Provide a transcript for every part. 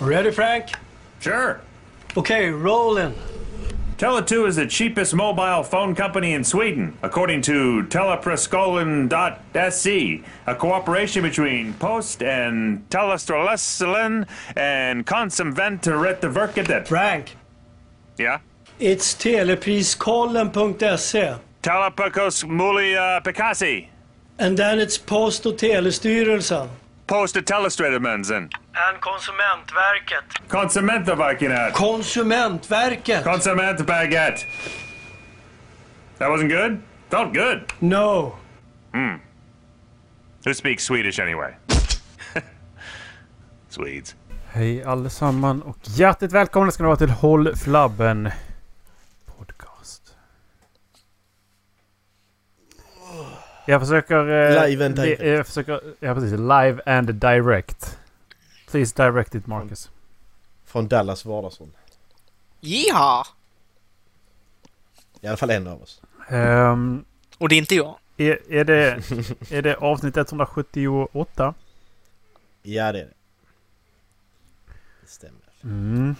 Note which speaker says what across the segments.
Speaker 1: Ready, Frank?
Speaker 2: Sure.
Speaker 1: Okay, rolling.
Speaker 2: Tele2 is the cheapest mobile phone company in Sweden, according to Telepreskolan.se, E, a cooperation between Post and Telestreleselen and Konsumventretverket.
Speaker 1: Frank,
Speaker 2: Yeah?
Speaker 1: it's telepriskollen.se
Speaker 2: Telepekos Mulia Pekasi,
Speaker 1: and then it's Post och telestyrelsen.
Speaker 2: Post och Telestrademensen,
Speaker 1: And Konsumentverket.
Speaker 2: Konsumentverket,
Speaker 1: Konsumentverket?
Speaker 2: Konsumentbaguette. That wasn't good? Felt good.
Speaker 1: no.
Speaker 2: Who speaks Swedish anyway? Swedes.
Speaker 3: Hej allesamman och hjärtligt välkomna ska ni vara till Håll Flabben Podcast. Jag försöker... eh,
Speaker 4: Live and
Speaker 3: di-
Speaker 4: direct.
Speaker 3: Jag försöker... Ja precis. Live and direct. Please direct it Marcus.
Speaker 4: Från Dallas Vardagsson.
Speaker 5: Jaha!
Speaker 4: I alla fall en av oss.
Speaker 3: Ehm,
Speaker 5: Och det är inte jag.
Speaker 3: är, är, det, är det avsnitt 178?
Speaker 4: Ja, det är det. Det stämmer.
Speaker 3: Mm.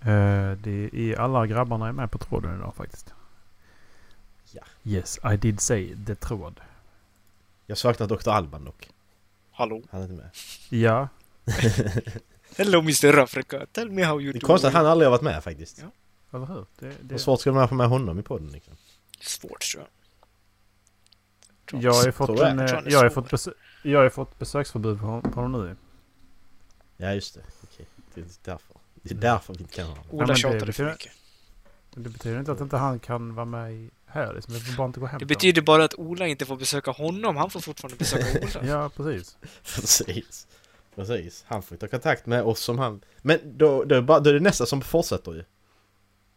Speaker 3: Eh, det är alla grabbarna är med på tråden idag faktiskt.
Speaker 4: Ja.
Speaker 3: Yes, I did say the tråd.
Speaker 4: Jag saknar Dr. Alban dock.
Speaker 5: Hallå?
Speaker 4: Han är inte med.
Speaker 3: Ja.
Speaker 5: Hello Mr. Africa, tell me how you
Speaker 4: Det är
Speaker 5: do.
Speaker 4: konstigt att han aldrig har varit med faktiskt.
Speaker 5: Ja.
Speaker 3: Eller hur? Det, det...
Speaker 4: Hur svårt ska man få med honom i podden liksom?
Speaker 5: Svårt tror jag. Tror
Speaker 3: Jag har ju
Speaker 5: jag.
Speaker 3: fått,
Speaker 4: Tror jag.
Speaker 3: en, eh,
Speaker 5: Tror han är
Speaker 3: jag har ju
Speaker 5: stor.
Speaker 3: fått, besö- jag har ju fått besöksförbud på hon- på honom nu.
Speaker 4: Ja, just det. Okej. Det är därför. Det är därför vi inte kan ha honom.
Speaker 3: Ja,
Speaker 5: Ola
Speaker 3: men det
Speaker 5: tjatade för
Speaker 3: betyder-
Speaker 5: mycket.
Speaker 3: Men Det betyder inte att inte han kan vara med i- här. Liksom. Jag får bara inte gå hem.
Speaker 5: Det
Speaker 3: till
Speaker 5: betyder bara att Ola inte får besöka honom, han får fortfarande besöka Ola.
Speaker 3: honom. Ja, precis.
Speaker 4: Precis. Precis. Han får ju ta kontakt med oss som han... Men då, då, är bara, då är det nästa som fortsätter ju.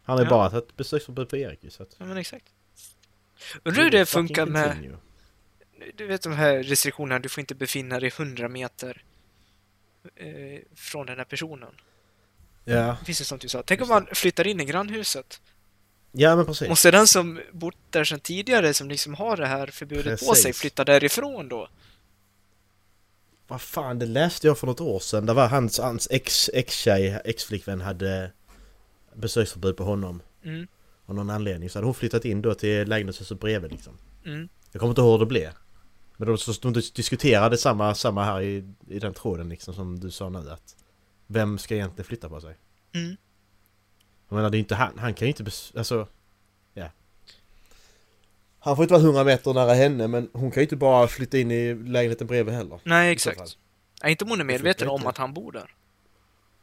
Speaker 4: Han är
Speaker 5: Ja.
Speaker 4: bara ett besöksförbud på Erik ju så att...
Speaker 5: Ja, men exakt. Undrar hur det funkar
Speaker 4: Fucking
Speaker 5: med,
Speaker 4: continue.
Speaker 5: du vet de här restriktionerna, du får inte befinna dig 100 meter eh, från den här personen.
Speaker 4: Ja.
Speaker 5: Finns det sånt du sa? Tänk om man flyttar in i grannhuset.
Speaker 4: Ja men precis.
Speaker 5: Måste den som bott där sedan tidigare, som liksom har det här förbudet på sig,
Speaker 4: Precis.
Speaker 5: flytta därifrån då?
Speaker 4: Vad fan, det läste jag för något år sedan. Det var hans, hans ex, ex-tjej, ex-flickvän hade besöksförbud på honom.
Speaker 5: Mm.
Speaker 4: Av någon anledning. Så hade hon flyttat in då till lägenhetshuset bredvid liksom.
Speaker 5: Mm.
Speaker 4: Jag kommer inte ihåg hur det blev. Men de, så- de diskuterade samma, samma här i, i den tråden liksom som du sa nu att Vem ska egentligen flytta på sig?
Speaker 5: Mm.
Speaker 4: Jag menar det är inte han, han kan ju inte bes- alltså Ja Han får inte vara 100 meter nära henne men hon kan ju inte bara flytta in i lägenheten bredvid heller
Speaker 5: Nej,
Speaker 4: så
Speaker 5: exakt.
Speaker 4: fall.
Speaker 5: Nej, inte om hon är
Speaker 4: funkar
Speaker 5: medveten om
Speaker 4: inte.
Speaker 5: att han bor där.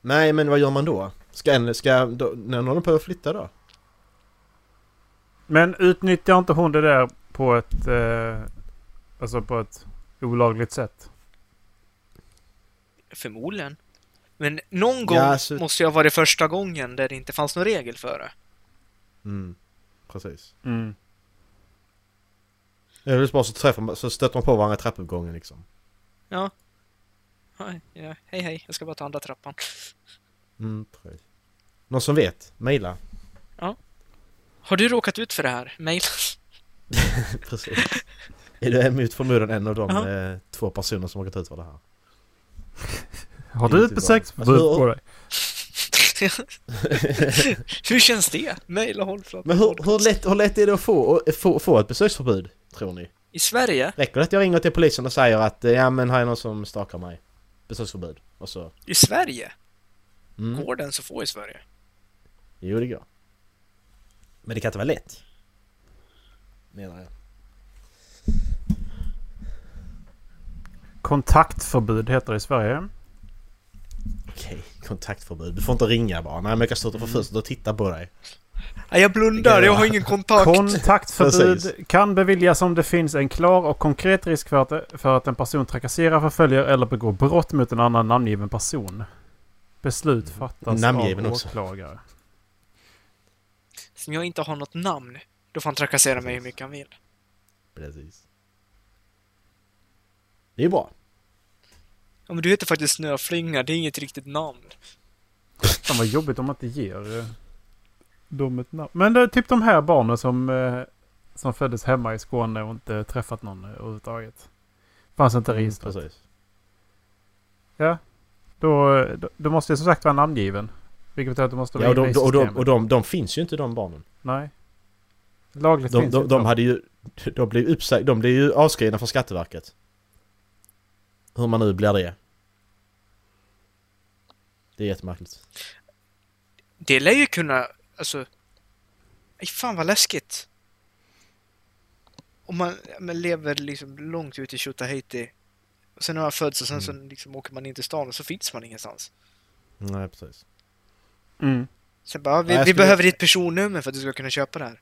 Speaker 4: Nej men vad gör man då? Ska, en- ska då, när någon behöver flytta då?
Speaker 3: Men utnyttjar inte hon det där på ett... Eh, alltså på ett olagligt sätt?
Speaker 5: Förmodligen. Men någon gång
Speaker 4: alltså-
Speaker 5: måste jag vara det första gången där det inte fanns någon regel för det.
Speaker 4: Mm, precis
Speaker 3: Mm.
Speaker 4: Eller så bara så träffar man, så stöter man på varandra i trappuppgången liksom
Speaker 5: Hej, ja, hej, hej, jag ska bara ta andra trappan.
Speaker 4: Mm, precis Någon som vet? Maila
Speaker 5: Har du råkat ut för det här? Mail?
Speaker 4: Precis. Är du emot förmodan en av de
Speaker 5: Ja.
Speaker 4: eh, två personer som har gått ut för det här?
Speaker 3: Har du ett
Speaker 4: Inte
Speaker 3: besöksförbud
Speaker 4: bra.
Speaker 3: på dig?
Speaker 5: Hur känns det? Mail och håll för att-
Speaker 4: Men hur, hur, lätt, hur lätt är det att få, och, få, få ett besöksförbud, tror ni?
Speaker 5: I Sverige?
Speaker 4: Räcker det att jag ringer till polisen och säger att eh, ja men här är någon som stakar mig? Besöksförbud. Och så...
Speaker 5: I Sverige?
Speaker 4: Mm.
Speaker 5: Går den så få i Sverige?
Speaker 4: Jo, det går. Men det kan inte vara lätt. Menar jag.
Speaker 3: Kontaktförbud heter det i Sverige.
Speaker 4: Okej, kontaktförbud. Du får inte ringa bara. Nej, men jag kan stå
Speaker 3: Mm.
Speaker 4: utanför fönstret och titta på dig.
Speaker 5: Nej, jag blundar, jag har ingen kontakt.
Speaker 3: Kontaktförbud
Speaker 4: Precis.
Speaker 3: kan beviljas om det finns en klar och konkret risk för att, för att en person trakasserar, förföljer eller begår brott mot en annan namngiven person. Beslut fattas
Speaker 4: Mm. Namngiven
Speaker 3: av
Speaker 4: också.
Speaker 3: åklagare.
Speaker 5: Som jag inte har något namn, då får han trakassera mig hur mycket han vill.
Speaker 4: Precis. Det är bra.
Speaker 5: Ja, men du heter faktiskt Snöflinga, det är inget riktigt namn.
Speaker 3: Fan vad jobbigt om man inte ger eh, dem ett namn. Men det är typ de här barnen som, eh, som föddes hemma i Skåne och inte träffat
Speaker 4: Mm,
Speaker 3: någon eh, överhuvudtaget. Fanns inte registret.
Speaker 4: Precis.
Speaker 3: Ja. Då, eh, då, då måste det som sagt vara namngiven. Vilket betyder att det måste vara
Speaker 4: Ja, och
Speaker 3: inne
Speaker 4: de,
Speaker 3: i
Speaker 4: och, de,
Speaker 3: systemet.
Speaker 4: och de, de finns ju inte de barnen.
Speaker 3: Nej. Lagligt
Speaker 4: De,
Speaker 3: finns
Speaker 4: de,
Speaker 3: inte
Speaker 4: de hade ju... De blev, uppsag, de blev ju avskrivna från Skatteverket. Hur man nu blir det. Det är jättemärkligt.
Speaker 5: Det lär ju kunna, alltså... Aj, fan vad läskigt. Om man, man lever liksom långt ut i Tjotahejti. Och sen när man föds och sen så
Speaker 4: Mm.
Speaker 5: liksom åker man in till stan och så finns man ingenstans.
Speaker 4: Nej, precis.
Speaker 3: Mm.
Speaker 5: Sen bara, ja, vi,
Speaker 4: Nej, jag
Speaker 5: vi
Speaker 4: skulle-
Speaker 5: behöver ditt personnummer för att du ska kunna köpa det här.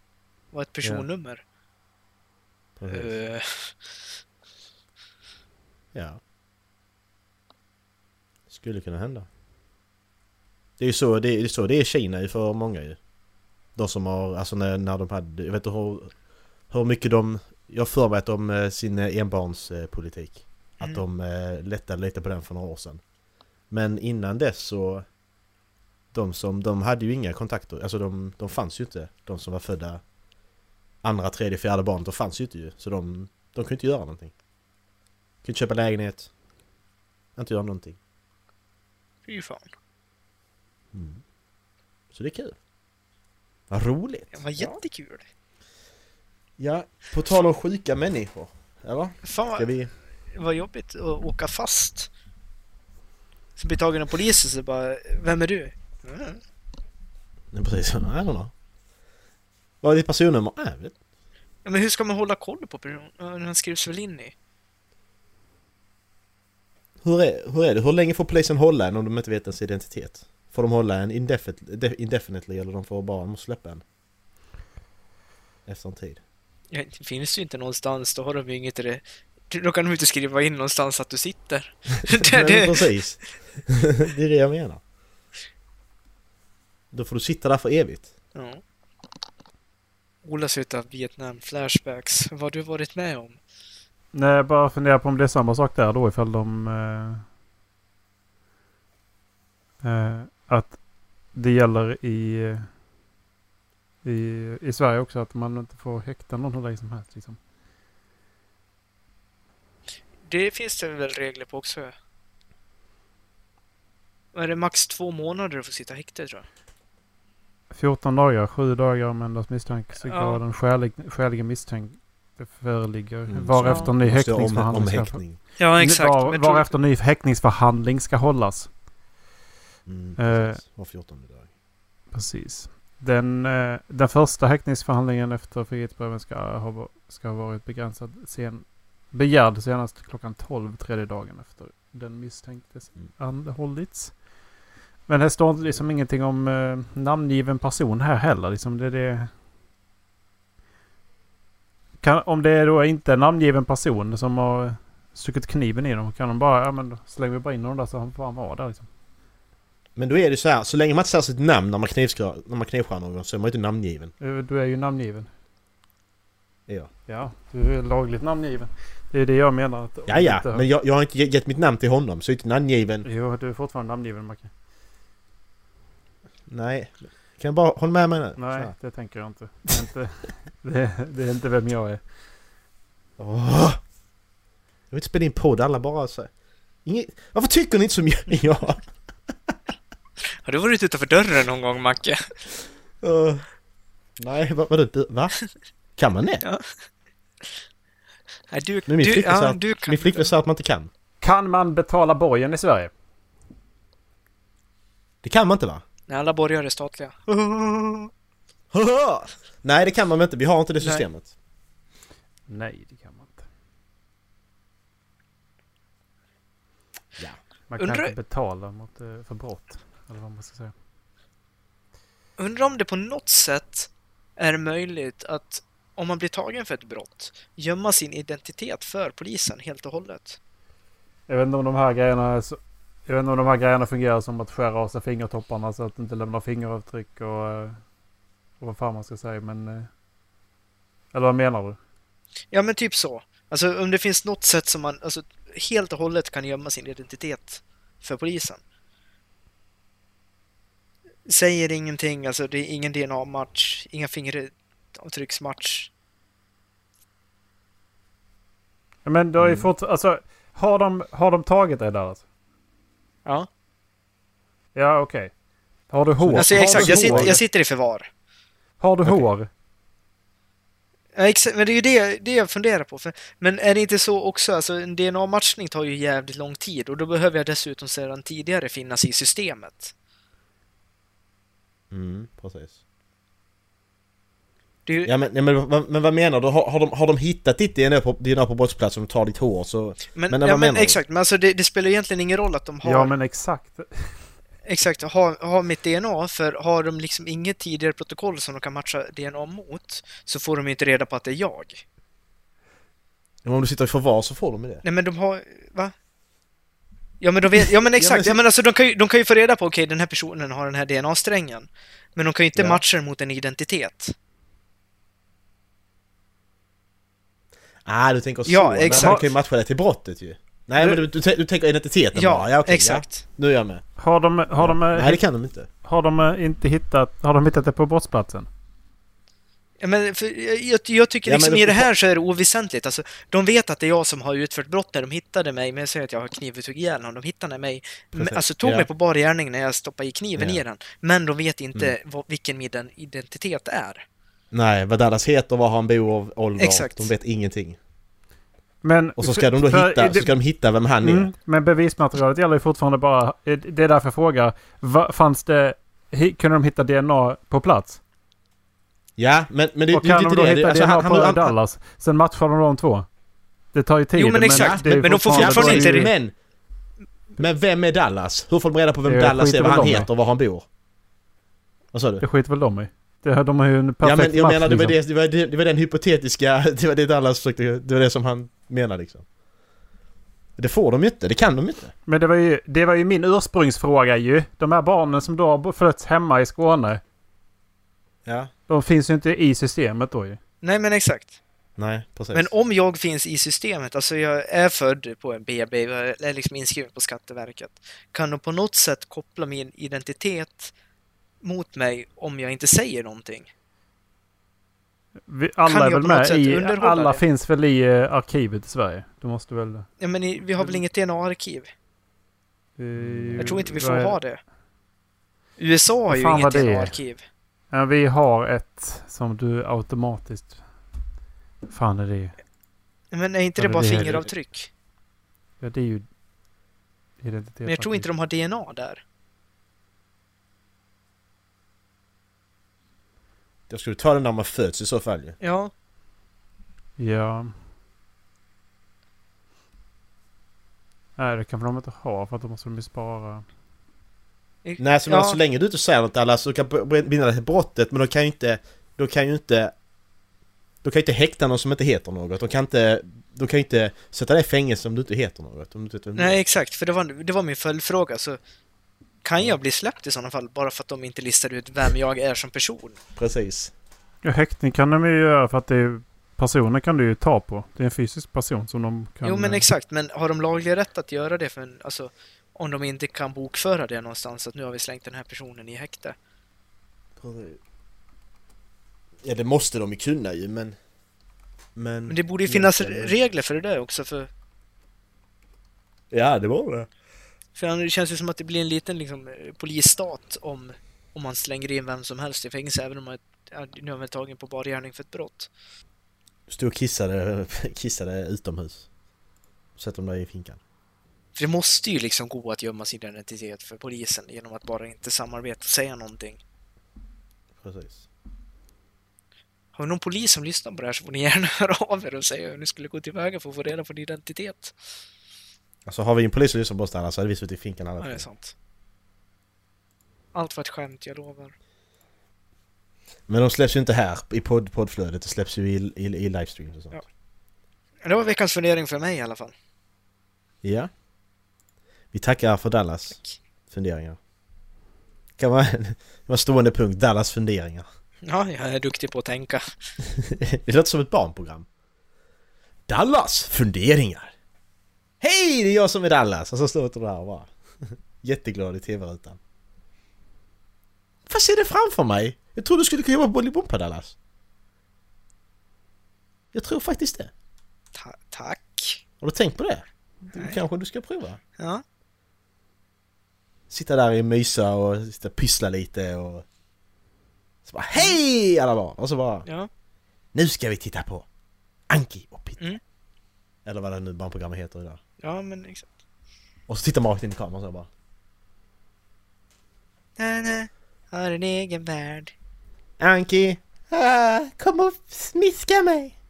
Speaker 5: Vad är ett personnummer?
Speaker 4: precis.
Speaker 5: Eh,
Speaker 4: Ja. Skulle kunna hända. Det är ju så det är, det är så det är i Kina ju för många ju. De som har, alltså när, när de hade, jag vet inte hur, hur mycket de, jag har för mig att de, eh, sin eh, enbarnspolitik. Att
Speaker 5: Mm.
Speaker 4: de eh, lättade lite på den för några år sedan. Men innan dess så, de som, de hade ju inga kontakter, alltså de, de fanns ju inte. De som var födda andra, tredje, fjärde barnet, de fanns ju inte ju. Så de, de kunde inte göra någonting. Kunde inte köpa lägenhet. Inte göra någonting.
Speaker 5: Fy fan.
Speaker 4: Så det är kul. Vad roligt.
Speaker 5: Det var jättekul.
Speaker 4: Ja, på tal om sjuka människor. Eller?
Speaker 5: Fan
Speaker 4: Ska
Speaker 5: vad,
Speaker 4: vi...
Speaker 5: vad jobbigt att åka fast. Så blir tagen av polisen så bara, vem är du? Mm.
Speaker 4: Nej precis, I don't know. Vad är ditt personnummer? Nej, jag vet inte.
Speaker 5: Ja, men hur ska man hålla koll på personen? Ja, Den skrivs väl in i?
Speaker 4: hur är, hur är det? Hur länge får polisen hålla en om de inte vet ens identitet? Får de hålla en indefinitely, de- indefinitely eller de får bara, de måste släppa en? Efter en tid.
Speaker 5: Ja, Det finns ju inte någonstans, då har de ju inget i det. Då kan de ju inte skriva in någonstans att du sitter. det,
Speaker 4: Nej,
Speaker 5: det,
Speaker 4: precis. det är det jag menar. Då får du sitta där för evigt.
Speaker 5: ja. Olas utav Vietnam Flashbacks. Vad har du varit med om?
Speaker 3: Nej, jag bara funderar på om det är samma sak där då ifall de... Eh, eh, att det gäller i, i, i Sverige också att man inte får häkta någon hur länge som helst. Liksom.
Speaker 5: Det finns det väl regler på också? ja. Är det max två månader du får sitta häktad tror jag?
Speaker 3: 14 dagar, 7 dagar om endast misstankegraden skälig, skäligen misstänkt föreligger.
Speaker 4: Mm.
Speaker 3: varefter ny
Speaker 4: Måste jag om,
Speaker 3: häktningsförhandling
Speaker 4: om
Speaker 3: ska,
Speaker 4: häktning.
Speaker 5: Ja,
Speaker 3: var, varefter ny häktningsförhandling ska hållas.
Speaker 4: Mm,
Speaker 3: Eh.
Speaker 4: precis. Var 14 dag.
Speaker 3: Precis. Den, eh, den första häktningsförhandlingen efter frihetsberövandet ska ha, va- ska ha varit begränsad sen, begärd senast klockan 12 tredje dagen efter den misstänktes
Speaker 4: Mm.
Speaker 3: anhållits. Men det står liksom ingenting om eh, namngiven person här heller. Liksom det, är det... Kan, om det då inte är namngiven person som har stuckit kniven i dem kan de bara, ja men då slänger vi bara in honom där så han får han vara där liksom.
Speaker 4: Men då är det så här, så länge man inte säger sitt namn när man, knivskar, när man knivskär någon så är man ju inte namngiven.
Speaker 3: Eh, Du är ju namngiven.
Speaker 4: Ja,
Speaker 3: Ja, du är lagligt namngiven. Det är det jag menar. Att om
Speaker 4: ja, ja.
Speaker 3: du inte-
Speaker 4: men jag, jag har inte ge- gett mitt namn till honom så jag är inte namngiven.
Speaker 3: Jo, du är fortfarande namngiven, Macke.
Speaker 4: Nej. Kan jag bara, håll med mig nu. Så
Speaker 3: Nej,
Speaker 4: här.
Speaker 3: det tänker jag inte. Det är inte, det, det är inte vem jag är.
Speaker 4: Åh! Jag vill inte spela in podd, alla bara så här. Inget, varför tycker ni inte som jag? jag?
Speaker 5: Har du varit utanför dörren någon gång, Macke?
Speaker 4: Eh, nej, vad, vad du, va? Kan man det?
Speaker 5: Nej, du,
Speaker 4: Men min
Speaker 5: du,
Speaker 4: flickvän sa
Speaker 5: ja,
Speaker 4: att-
Speaker 5: du kan
Speaker 4: Min flickvän
Speaker 5: inte.
Speaker 4: sa att man inte kan.
Speaker 3: Kan man betala borgen i Sverige?
Speaker 4: Det kan man inte va?
Speaker 5: Nej, alla borgare är statliga.
Speaker 4: nej, det kan man väl inte. Vi har inte det
Speaker 5: Nej.
Speaker 4: systemet.
Speaker 3: Nej, det kan man inte.
Speaker 4: Ja.
Speaker 3: Man kan
Speaker 5: Undrar-
Speaker 3: inte betala mot, eh, för brott. Eller vad man ska säga.
Speaker 5: Undrar om det på något sätt är möjligt att om man blir tagen för ett brott gömma sin identitet för polisen helt och hållet.
Speaker 3: Jag vet inte om de här grejerna är så, Jag vet inte om de här grejerna fungerar som att skära av sig fingertopparna så att det inte lämnar fingeravtryck och, eh, och vad fan man ska säga men... eh, Eller vad menar du?
Speaker 5: Ja, men typ så. Alltså om det finns något sätt som man alltså, helt och hållet kan gömma sin identitet för polisen. Säger ingenting, alltså det är ingen DNA-match, inga fingeravtrycksmatch.
Speaker 3: Ja, Men du har ju fort, alltså, har de, har de tagit dig där alltså?
Speaker 5: Ja.
Speaker 3: Ja, okej. Har du hår?
Speaker 5: Alltså,
Speaker 3: har
Speaker 5: jag, exakt,
Speaker 3: du
Speaker 5: jag,
Speaker 3: hår?
Speaker 5: sitter, jag sitter i förvar.
Speaker 3: Har du hår?
Speaker 5: Ja, exakt, men det är ju det, det jag funderar på. För, men är det inte så också, alltså en DNA-matchning tar ju jävligt lång tid och då behöver jag dessutom sedan tidigare finnas i systemet.
Speaker 4: Mm, precis.
Speaker 5: Det är ju,
Speaker 4: Ja men, nej, men, vad- men vad menar du? Har, har, de, har de hittat ditt DNA på, DNA på brottsplatsen och tar ditt hår så...
Speaker 5: men,
Speaker 4: men vad
Speaker 5: ja, men
Speaker 4: menar du?
Speaker 5: exakt, men alltså det, det spelar ju egentligen ingen roll att de har,
Speaker 3: Ja, men exakt.
Speaker 5: exakt, har, har mitt DNA, för har de liksom inget tidigare protokoll som de kan matcha DNA mot så får de ju inte reda på att det är jag.
Speaker 4: Men Om du sitter i förvar så får de ju det.
Speaker 5: Nej men de har, va? Ja men, de vet, ja, men exakt, ja, men alltså, de, kan ju, de kan ju få reda på okej den här personen har den här DNA-strängen. Men de kan ju inte
Speaker 4: Ja.
Speaker 5: matcha den mot en identitet.
Speaker 4: Ah, du tänker så.
Speaker 5: Ja,
Speaker 4: men
Speaker 5: exakt.
Speaker 4: Man kan ju matcha det till brottet ju. Nej men du, du, tän- du tänker identiteten bara. Ja, okej,
Speaker 5: exakt.
Speaker 4: Ja. Nu är jag med.
Speaker 3: Har de, har de,
Speaker 4: Nej det kan de inte.
Speaker 3: har de eh, inte hittat... Har de hittat det på brottsplatsen?
Speaker 5: Ja, men för, jag, jag tycker
Speaker 4: Ja, men
Speaker 5: liksom
Speaker 4: det-
Speaker 5: i det här så är det oväsentligt. Alltså, de vet att det är jag som har utfört brott när de hittade mig, men jag säger att jag har kniv och tog ihjäl honom. De hittade mig, men,
Speaker 4: Precis,
Speaker 5: alltså tog
Speaker 4: ja.
Speaker 5: mig på bar gärning när jag stoppade i kniven
Speaker 4: Ja. Mm.
Speaker 5: i den. Men de vet inte vad, vilken min den- identitet är.
Speaker 4: Nej, vad Dallas heter, var han bor och ålder.
Speaker 5: Exakt.
Speaker 4: De vet ingenting.
Speaker 3: Men,
Speaker 4: Och så ska de då
Speaker 3: för-
Speaker 4: hitta, så
Speaker 3: det-
Speaker 4: ska de hitta vem han är.
Speaker 3: Mm, men bevismaterialet gäller ju fortfarande bara... eh, Det är därför jag frågar. Va, fanns det... hi- Kunde de hitta DNA på plats?
Speaker 4: Ja, men, men det,
Speaker 3: Och
Speaker 4: det är
Speaker 3: kan
Speaker 4: ju
Speaker 3: de
Speaker 4: inte
Speaker 3: då
Speaker 4: det.
Speaker 3: hitta
Speaker 4: det. alltså,
Speaker 3: DNA
Speaker 4: han-
Speaker 3: på
Speaker 4: han- han-
Speaker 3: Dallas? Sen matchar de de två. Det tar ju tid.
Speaker 5: Jo, men exakt.
Speaker 3: det är ju
Speaker 5: Men de får
Speaker 4: Ja,
Speaker 5: fortfarande
Speaker 4: precis,
Speaker 3: det är
Speaker 5: inte
Speaker 3: ju-
Speaker 5: det.
Speaker 4: Men, men vem är Dallas? Hur får de reda på vem
Speaker 3: Det
Speaker 4: Dallas
Speaker 3: skiter
Speaker 4: är, vad
Speaker 3: väl
Speaker 4: han
Speaker 3: de i.
Speaker 4: heter och var han bor? Vad sa du?
Speaker 3: Det skiter väl de i? Det, de har ju en
Speaker 4: Ja
Speaker 3: perfekt
Speaker 4: men jag
Speaker 3: match,
Speaker 4: menar det var,
Speaker 3: liksom.
Speaker 4: det, det, var, det, det var den hypotetiska, det var det Dallas försökte, det var det som han menade liksom. Det får de ju inte, det kan de ju inte.
Speaker 3: Men det var ju, det var ju min ursprungsfråga ju. De här barnen som då har fötts hemma i Skåne.
Speaker 4: Ja.
Speaker 3: De finns ju inte i systemet då ju.
Speaker 5: Nej, men exakt.
Speaker 4: Nej, precis.
Speaker 5: Men om jag finns i systemet, alltså jag är född på en BB, jag är liksom inskriven på Skatteverket, kan de på något sätt koppla min identitet mot mig om jag inte säger någonting?
Speaker 3: Vi, alla
Speaker 5: jag
Speaker 3: är väl
Speaker 5: på något
Speaker 3: med
Speaker 5: sätt
Speaker 3: i...
Speaker 5: underhålla
Speaker 3: Alla
Speaker 5: det?
Speaker 3: finns väl i eh, arkivet i Sverige? Du måste väl...
Speaker 5: Ja, men i- vi har
Speaker 4: Mm.
Speaker 5: väl inget DNA-arkiv? Mm. Jag tror inte vi får ha det. USA har ju
Speaker 3: Fan,
Speaker 5: inget
Speaker 3: vad det är.
Speaker 5: DNA-arkiv.
Speaker 3: det. Vi har ett som du automatiskt... Fan är det ju.
Speaker 5: Men är inte
Speaker 3: Ja,
Speaker 5: det
Speaker 3: men
Speaker 5: bara
Speaker 3: det är-
Speaker 5: fingeravtryck?
Speaker 3: Ja det är ju... Identitet.
Speaker 5: Men jag tror inte de har DNA där.
Speaker 4: Jag skulle ta den när man föds i så fall ju.
Speaker 5: Ja,
Speaker 3: Ja. Nej det kanske de inte har för att då måste de ju spara...
Speaker 4: Nej, så,
Speaker 5: ja,
Speaker 4: så länge du inte säger något Dallas så kan b- binda det till brottet men de kan ju inte, de kan ju inte de kan ju inte häkta någon som inte heter något. De kan inte, de kan ju inte sätta dig i fängelse om du inte heter något. Om du inte vet vem du är.
Speaker 5: Nej, exakt, för det var, det var min följdfråga. Så kan jag bli släppt i sådana fall bara för att de inte listar ut vem jag är som person?
Speaker 4: Precis.
Speaker 3: Ja, häktning kan de ju göra för att det är personer kan du ju ta på. Det är en fysisk person som de kan...
Speaker 5: Jo men
Speaker 3: eh,
Speaker 5: exakt, men har de laglig rätt att göra det? För en, alltså, om de inte kan bokföra det någonstans, att nu har vi slängt den här personen i häkte.
Speaker 4: Ja det måste de ju kunna ju men... Men...
Speaker 5: Men det
Speaker 3: Mm.
Speaker 5: borde ju finnas
Speaker 4: Egentligen.
Speaker 5: regler för det där också, för,
Speaker 4: Ja det var det.
Speaker 5: för annars känns det som att det blir en liten liksom, eh, polisstat om, om man slänger in vem som helst i fängelse, även om man ja, nu har man tagen på bar gärning för ett brott.
Speaker 4: Stod och kissade, kissade utomhus. Sätter de dig i finkan.
Speaker 5: För det måste ju liksom gå att gömma sin identitet för polisen genom att bara inte samarbeta och säga någonting.
Speaker 4: Precis.
Speaker 5: Har vi någon polis som lyssnar på det här så får ni gärna höra av er och säga hur ni skulle gå tillväga för att få reda på din identitet.
Speaker 4: Alltså har vi en polis som lyssnar på oss där så hade vi suttit i finkan alla
Speaker 5: Ja, det är
Speaker 4: tre.
Speaker 5: sant. Allt var ett skämt, jag lovar.
Speaker 4: Men de släpps ju inte här i podd, poddflödet, det släpps ju i, i, i livestreams och sånt.
Speaker 5: Ja. Det var veckans fundering för mig i alla fall.
Speaker 4: Ja. Vi tackar för Dallas
Speaker 5: Tack.
Speaker 4: funderingar. Kan vara en det var en stående punkt, Dallas funderingar.
Speaker 5: Ja, jag är duktig på att tänka.
Speaker 4: Det låter som ett barnprogram. Dallas funderingar! Hej, det är jag som är Dallas! Och så står du där och bara... Jätteglad i tv-rutan. Vad ser det framför mig? Jag trodde du skulle kunna jobba på Bolibompa Dallas. Jag tror faktiskt det.
Speaker 5: Ta- tack.
Speaker 4: Har du tänkt på det? Du, kanske du ska prova?
Speaker 5: Ja.
Speaker 4: Sitta där i mysa och sitta och pyssla lite och... Så bara hej alla barn! Och så bara
Speaker 5: Ja.
Speaker 4: nu ska vi titta på Anki och Pitte.
Speaker 5: Mm.
Speaker 4: Eller vad det nu barnprogrammet heter idag.
Speaker 5: Ja, men liksom- exakt.
Speaker 4: Och så tittar man rakt in i kameran så bara
Speaker 5: Nej, nej. Har en egen värld.
Speaker 4: Anki! Ah, kom och smiska mig!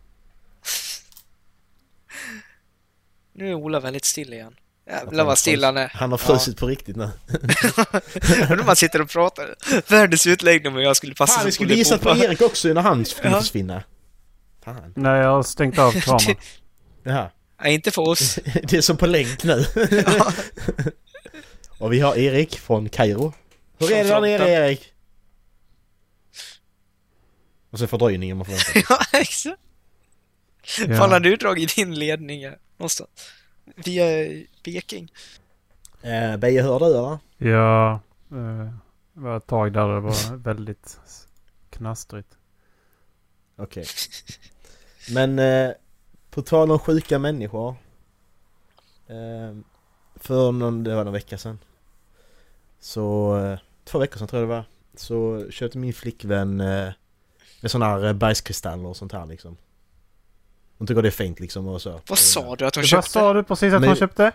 Speaker 5: Nu är Ola väldigt still igen. Jävlar vad still han är.
Speaker 4: Han har frusit på riktigt nu. Alltså,
Speaker 5: Undrar om man sitter och pratar. Världens utläggning om hur jag skulle passa
Speaker 4: Fan,
Speaker 5: som
Speaker 4: vi skulle gissa på
Speaker 5: Polipopa.
Speaker 4: Erik också när han skulle
Speaker 5: Ja.
Speaker 4: försvinna. Fan.
Speaker 3: Nej, jag har stängt av kameran.
Speaker 4: Jaha.
Speaker 5: Nej, inte för oss.
Speaker 4: Det är som på länk nu. och vi har Erik från Kairo. Hur är det där nere Erik? Och så fördröjningen man får vänta.
Speaker 5: ja, exakt. Fan,
Speaker 3: Ja.
Speaker 5: hade du dragit in ledningar någonstans? Via Peking?
Speaker 4: Eh, Beje, hör du eller?
Speaker 3: ja eh, det var ett tag där det var väldigt knastrigt.
Speaker 4: Okej. Men eh, på tal om sjuka människor. Eh, för någon, det var någon vecka sedan. Så, eh, två veckor sedan tror jag det var. Så köpte min flickvän eh, en sån här eh, bergskristaller och sånt här liksom. Hon tycker det är fint liksom och så.
Speaker 5: Vad sa du att de
Speaker 3: Vad
Speaker 5: köpte?
Speaker 3: sa du precis att
Speaker 4: Men-
Speaker 3: hon köpte?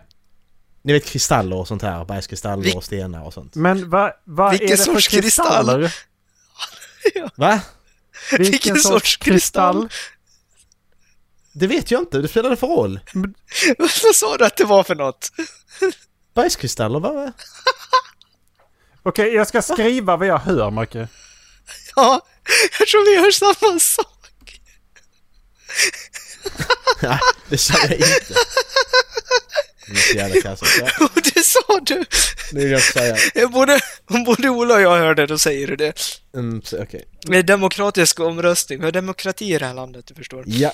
Speaker 4: Ni vet kristaller och sånt här, bergskristaller
Speaker 5: Vil-
Speaker 4: och stenar och sånt.
Speaker 3: Men vad va är
Speaker 5: Vilken
Speaker 3: det
Speaker 5: sorts
Speaker 3: för
Speaker 5: kristall?
Speaker 3: kristaller?
Speaker 4: Va?
Speaker 3: Vilken,
Speaker 5: Vilken
Speaker 3: sorts,
Speaker 5: sorts
Speaker 3: kristall?
Speaker 4: Det vet jag inte, det spelar för roll?
Speaker 5: Vad sa du att det var för något?
Speaker 4: Bergskristaller, va? va?
Speaker 3: Okej, jag ska skriva vad jag hör, Macke.
Speaker 5: Ja, jag tror vi gör samma sak.
Speaker 4: Nej, det sa jag inte. Det är så jävla kassigt. Ja,
Speaker 5: Och det sa du.
Speaker 4: Nu vill jag inte säga.
Speaker 5: Jag Både, om både Ola och jag hörde då säger du det.
Speaker 4: Mm, så- okej.
Speaker 5: Det är demokratisk omröstning. Vi har demokrati i det här landet, du förstår.
Speaker 4: Ja,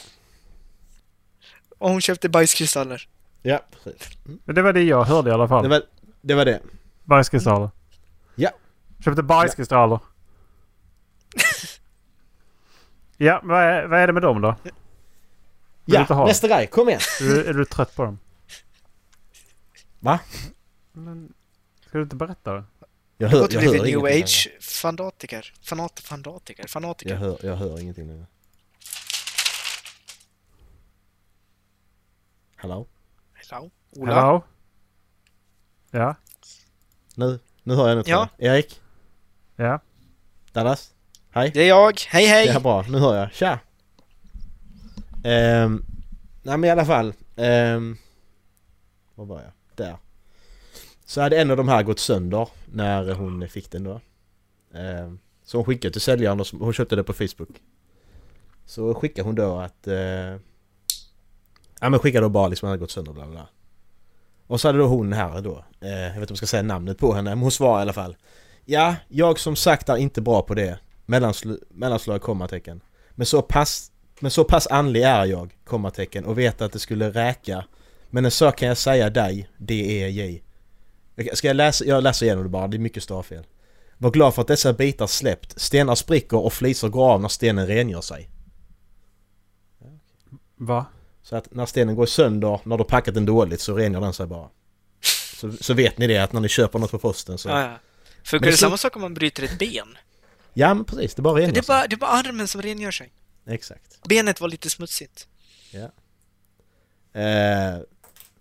Speaker 5: Och hon köpte bajskristaller.
Speaker 4: ja, precis.
Speaker 3: Men Det var det jag hörde i alla fall.
Speaker 4: Det var det. Var det.
Speaker 3: Bajskristaller.
Speaker 4: Ja.
Speaker 3: Köpte bajskristaller. ja, vad är, vad är det med dem då? Vill du inte
Speaker 4: Ja,
Speaker 3: ha
Speaker 4: nästa grej. Kom igen.
Speaker 3: Du, är du trött på dem?
Speaker 4: Va?
Speaker 3: Men, ska du inte berätta det?
Speaker 4: Jag
Speaker 5: Jag har gått och blivit
Speaker 4: ingenting
Speaker 5: new
Speaker 4: längre.
Speaker 5: age-fanatiker. Fanat, fanatiker, fanatiker.
Speaker 4: Jag hör, jag hör ingenting längre. Hallå?
Speaker 5: Hello. Ola.
Speaker 3: Hello? Ja,
Speaker 4: Nu, nu hör jag något.
Speaker 5: Ja.
Speaker 4: Erik?
Speaker 3: ja.
Speaker 4: Dallas? Hej?
Speaker 5: Det är jag. Hej, hej!
Speaker 4: Det är bra, nu hör jag. Tja! Um, nej men i alla fall. Um, var var jag? Där. Så hade en av de här gått sönder när hon fick den då. Ehm, så hon skickade till säljaren och som- hon köpte det på Facebook. Så skickade hon då att... eh, ja men skickade då bara liksom att den hade gått sönder bla bla, bla. Och så hade då hon här då, eh, jag vet inte om jag ska säga namnet på henne, men hon svarade i alla fall. Ja, jag som sagt är inte bra på det. Mellansl- mellanslag, kommatecken. Men så pass, men så pass andlig är jag, kommatecken, och vet att det skulle räcka. Men en sak kan jag säga dig, D-E-J. Okej, Ska jag läsa? Jag läser igenom det bara, det är mycket stavfel. Var glad för att dessa bitar släppt. Stenar spricker och flisor går av när stenen rengör sig.
Speaker 3: Va?
Speaker 4: Så att när stenen går sönder, när du packat den dåligt, så rengör den sig bara. Så, så vet ni det, att när ni köper något på posten så...
Speaker 5: Ja, ja. Funkar
Speaker 4: Men
Speaker 5: det
Speaker 4: det-
Speaker 5: samma sak om man bryter ett ben?
Speaker 4: Ja, men precis, det bara rengör
Speaker 5: Det
Speaker 4: sig.
Speaker 5: är, bara, det är bara armen som rengör sig.
Speaker 4: Exakt.
Speaker 5: Benet var lite smutsigt.
Speaker 4: Eh,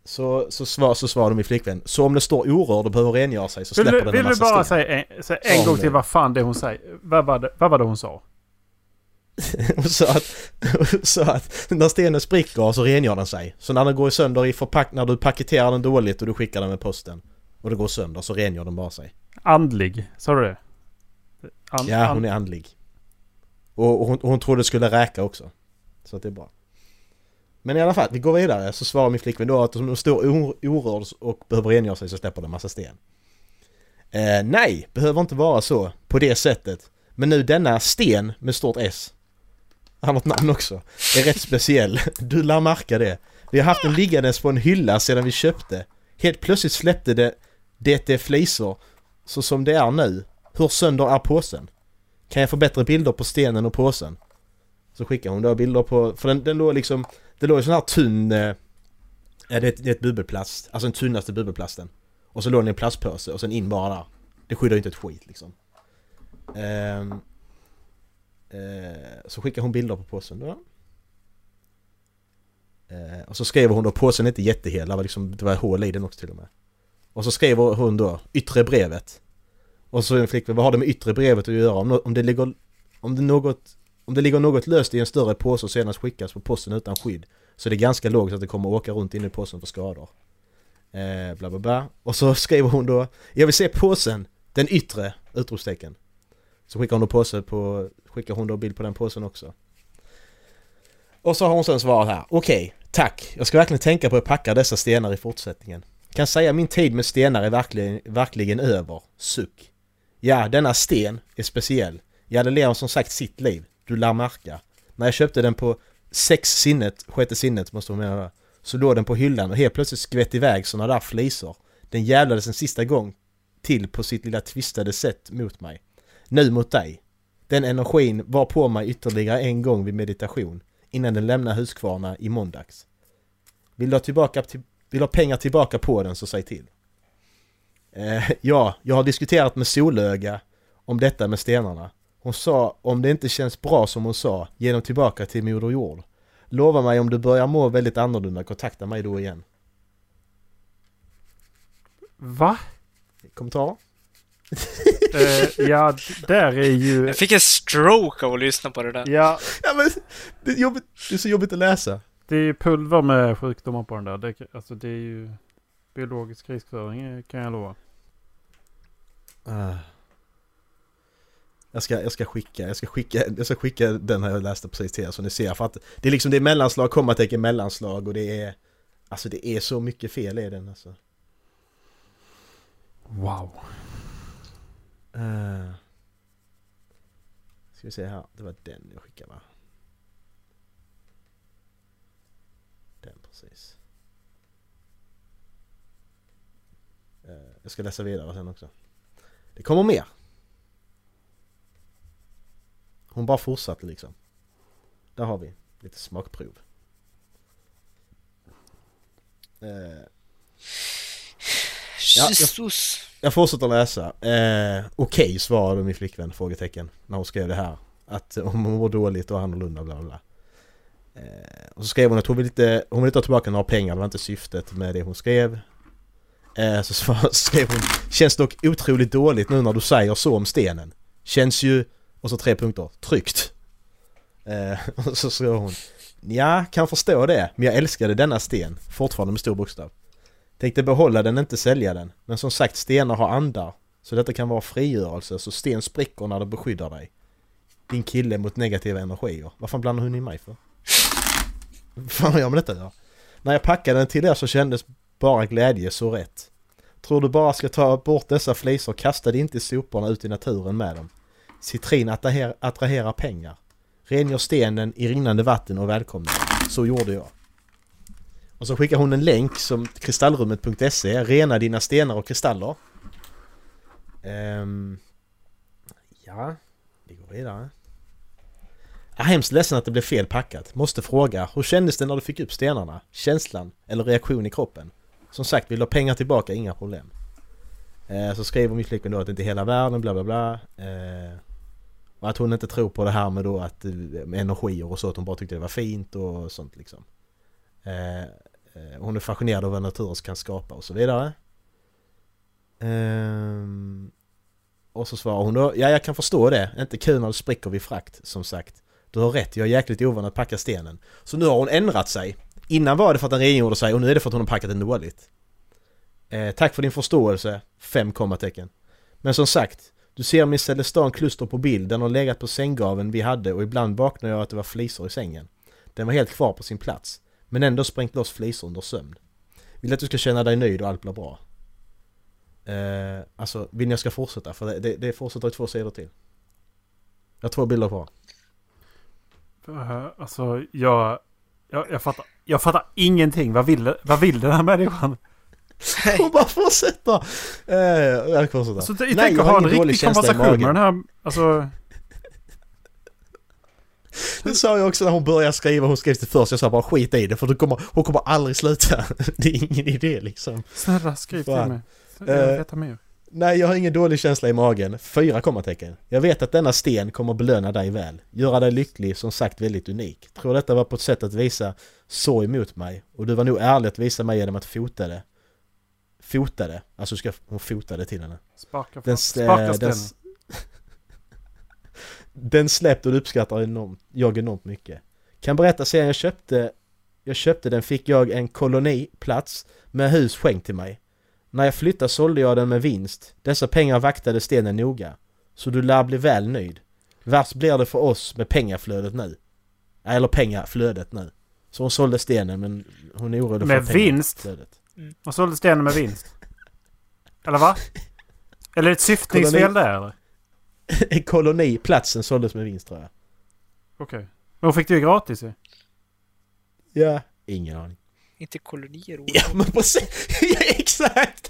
Speaker 4: så, så, svar, så svarade min flickvän. Så om det står orörd och behöver rengöra sig så
Speaker 3: Vill
Speaker 4: släpper
Speaker 3: du,
Speaker 4: den
Speaker 3: vill
Speaker 4: en
Speaker 3: du
Speaker 4: massa
Speaker 3: bara
Speaker 4: sten.
Speaker 3: säga en, säga en gång till vad fan det hon säger? Vad var det, vad var det hon sa?
Speaker 4: och så att, och så att när stenen spricker så rengör den sig. Så när den går sönder i förpack... När du paketerar den dåligt och du skickar den med posten och det går sönder så rengör den bara sig.
Speaker 3: Andlig, sa du det? An-
Speaker 4: Ja,
Speaker 3: an-
Speaker 4: hon är andlig. Och, och hon, och hon trodde det skulle räka också. Så att det är bra. Men i alla fall, vi går vidare. Så svarar min flickvän då att om de står or- orörd och behöver rengöra sig så släpper de massa sten. Eh, nej, behöver inte vara så. På det sättet. Men nu denna sten med stort S. Han har ett namn också. Är rätt speciell. Du lär märka det. Vi har haft den liggandes på en hylla sedan vi köpte. Helt plötsligt släppte det det är flisor. Så som det är nu. Hur sönder är påsen? Kan jag få bättre bilder på stenen och påsen? Så skickar hon då bilder på, för den, den låg liksom, det låg i sån här tunn, eh, ja, det, är ett, det är ett bubbelplast, alltså den tunnaste bubbelplasten. Och så låg den i en plastpåse och sen in bara där. Det skyddar ju inte ett skit liksom. Ehm, eh, så skickade hon bilder på påsen då. Eh, och så skrev hon då, påsen är inte jättehel, det var, liksom, det var hål i den också till och med. Och så skrev hon då, yttre brevet. Och så en flickvän, vad har det med yttre brevet att göra? Om, nå- om, det ligger, om, det något, om det ligger något löst i en större påse och senast skickas på posten utan skydd så är det ganska lågt att det kommer åka runt inne i påsen för skador. Eh, bla bla bla. Och så skriver hon då Jag vill se påsen! Den yttre! Utropstecken. Så skickar hon då påse på, skickar hon då bild på den påsen också. Och så har hon sen svarat här. Okej, tack. Jag ska verkligen tänka på att packa dessa stenar i fortsättningen. Kan säga min tid med stenar är verkligen, verkligen över. Suck. Ja, denna sten är speciell. Ja, det lever som sagt sitt liv. Du lär märka. När jag köpte den på sex sinnet, sjätte sinnet måste man mena det, så låg den på hyllan och helt plötsligt skvätt iväg såna där flisor. Den jävlades en sista gång till på sitt lilla twistade sätt mot mig. Nu mot dig. Den energin var på mig ytterligare en gång vid meditation innan den lämnade Huskvarna i måndags. Vill du ha, tillbaka, till, vill ha pengar tillbaka på den så säg till. Eh, ja, jag har diskuterat med Solöga om detta med stenarna. Hon sa om det inte känns bra som hon sa, ge dem tillbaka till Moder Jord. Lova mig om du börjar må väldigt annorlunda, kontakta mig då igen.
Speaker 3: Va?
Speaker 4: Kommentarer?
Speaker 3: Eh, ja, d- där är ju...
Speaker 5: Jag fick en stroke av att lyssna på det där.
Speaker 3: Ja,
Speaker 4: Ja men, det är, jobbigt, det är så jobbigt att läsa.
Speaker 3: det är ju pulver med sjukdomar på den där. Det, alltså det är ju biologisk krigföring eh, kan jag lova.
Speaker 4: Ah. Jag ska, jag, ska skicka, jag, ska skicka, jag ska skicka den här jag läste precis till er så ni ser. För att det är liksom det är mellanslag, kommatecken, mellanslag och det är... Alltså det är så mycket fel i den alltså.
Speaker 3: Wow.
Speaker 4: Eh. Ska vi se här, det var den jag skickade va? Den precis. Eh, jag ska läsa vidare sen också. Det kommer mer. Hon bara fortsatte liksom. Där har vi lite smakprov. Eh, jag-
Speaker 5: Jesus.
Speaker 4: jag fortsätter läsa. Eh, Okej, svarade min flickvän, frågetecken, när hon skrev det här. Att om hon mår dåligt och annorlunda, bla bla, bla. Eh, och så skrev hon att hon vill inte, hon vill inte ha tillbaka några pengar, det var inte syftet med det hon skrev. Eh, så svar, skrev hon, känns dock otroligt dåligt nu när du säger så om stenen. Känns ju, och så tre punkter, tryggt. Eh, och så skrev hon, ja, kan förstå det, men jag älskade denna sten, fortfarande med stor bokstav. Tänkte behålla den, inte sälja den. Men som sagt, stenar har andar. Så detta kan vara frigörelse, så sten spricker när det beskyddar dig. Din kille mot negativa energier. Vad fan blandar hon in mig för? Vad fan har jag med detta att göra? När jag packade den till er så kändes bara glädje så rätt. Tror du bara ska ta bort dessa flisor, kasta det inte i soporna ut i naturen med dem. Citrin attraher- attraherar pengar. Rengör stenen i rinnande vatten och välkomna. Så gjorde jag. Och så skickar hon en länk som kristallrummet.se Rena dina stenar och kristaller. Ehm, ja, vi går vidare. Jag är hemskt ledsen att det blev fel packat. Måste fråga, hur kändes det när du fick upp stenarna? Känslan eller reaktion i kroppen? Som sagt, vill du ha pengar tillbaka? Inga problem. Eh, så skriver min flickvän då att det inte är hela världen, bla bla bla. Eh, och att hon inte tror på det här med då att eh, med energier och så, att hon bara tyckte det var fint och sånt liksom. Eh, eh, hon är fascinerad av vad naturen kan skapa och så vidare. Ehm, och så svarar hon då, ja jag kan förstå det, inte kul när du spricker vid frakt, som sagt. Du har rätt, jag är jäkligt ovan att packa stenen. Så nu har hon ändrat sig. Innan var det för att den rengjorde sig och nu är det för att hon har packat den dåligt. Eh, tack för din förståelse, fem kommatecken. Men som sagt, du ser min Celestan kluster på bild, den har legat på sänggaven vi hade och ibland vaknar jag att det var flisor i sängen. Den var helt kvar på sin plats men ändå sprängt loss flisor under sömn. Vill att du ska känna dig nöjd och allt blir bra. Eh, alltså, vill ni jag ska fortsätta? För det, det, det fortsätter i två sidor till. Jag har två bilder kvar.
Speaker 3: Eh, Alltså jag, jag, jag, fattar, jag fattar ingenting. Vad vill, vad vill den här människan?
Speaker 4: Hon bara fortsätter! Eh, jag fortsätter.
Speaker 3: Alltså, jag tänker ha en riktig konversation med den här. Alltså,
Speaker 4: Det sa jag också när hon började skriva, hon skrev det först, jag sa bara skit i det för du kommer, hon kommer aldrig sluta. det är ingen idé liksom.
Speaker 3: snälla skriv till
Speaker 4: Fan.
Speaker 3: mig. vet. Jag vill
Speaker 4: Eh.
Speaker 3: veta mer.
Speaker 4: Nej, jag har ingen dålig känsla i magen. Fyra kommatecken. Jag vet att denna sten kommer belöna dig väl. Göra dig lycklig, som sagt väldigt unik. Tror detta var på ett sätt att visa sorg mot mig. Och du var nog ärlig att visa mig genom att fota det. Fota det. Alltså ska hon fota det till henne.
Speaker 3: Sparka,
Speaker 4: Den,
Speaker 3: den,
Speaker 4: s-
Speaker 3: sparka
Speaker 4: eh, den,
Speaker 3: stenen.
Speaker 4: s- den släppte och du uppskattar enormt, jag enormt mycket. Kan berätta sen jag köpte, jag köpte den fick jag en koloniplats med hus skänkt till mig. När jag flyttade sålde jag den med vinst. Dessa pengar vaktade stenen noga. Så du lär bli väl nöjd. Värst blir det för oss med pengaflödet nu. Eller pengaflödet nu. Så hon sålde stenen men hon är orolig
Speaker 3: Med
Speaker 4: för
Speaker 3: vinst?
Speaker 4: pengaflödet.
Speaker 3: Och sålde stenen med vinst. Eller va? Eller ett syftningsfel där eller?
Speaker 4: En koloniplatsen såldes med vinst tror jag.
Speaker 3: Okej. Men hon fick det ju gratis ju.
Speaker 4: Ja. Ingen aning.
Speaker 5: Inte kolonier.
Speaker 4: Ja men precis! Ja, exakt!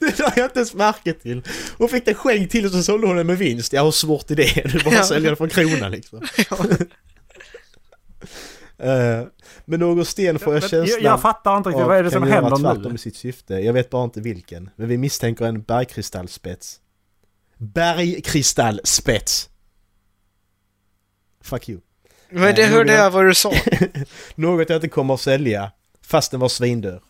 Speaker 4: Det la jag inte ens märke till. Hon fick den skänkt till och så sålde hon den med vinst. Ja hur svårt är det? Du bara
Speaker 5: Ja.
Speaker 4: säljer den för en krona liksom. Eh, men någon sten får jag
Speaker 3: jag,
Speaker 4: känslan
Speaker 3: jag, fattar inte riktigt.
Speaker 4: av
Speaker 3: Vad är det som
Speaker 4: kan göra
Speaker 3: händer
Speaker 4: tvärtom
Speaker 3: nu?
Speaker 4: i sitt syfte. Jag vet bara inte vilken. Men vi misstänker en bergkristallspets. Bergkristallspets! Fuck you.
Speaker 5: Men det hörde jag vad du sa.
Speaker 4: Något jag inte kommer att sälja, fast den var svindör.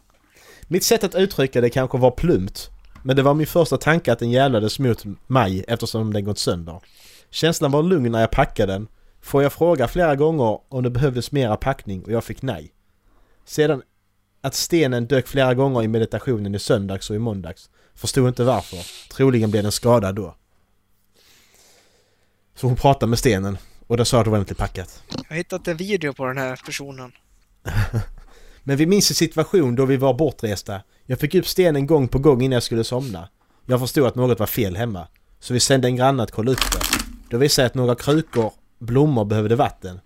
Speaker 4: Mitt sätt att uttrycka det kanske var plumpt, men det var min första tanke att den jävlades mot mig eftersom den gått sönder. Känslan var lugn när jag packade den. Får jag fråga flera gånger om det behövdes mera packning och jag fick nej. Sedan att stenen dök flera gånger i meditationen i söndags och i måndags. Förstod inte varför. Troligen blev den skadad då. Så hon pratade med stenen och den sa att det var inte packat.
Speaker 5: Jag har hittat en video på den här personen.
Speaker 4: Men vi minns en situation då vi var bortresta. Jag fick upp stenen gång på gång innan jag skulle somna. Jag förstod att något var fel hemma. Så vi sände en granne att kolla upp det. Då visade jag att några krukor, blommor behövde vatten.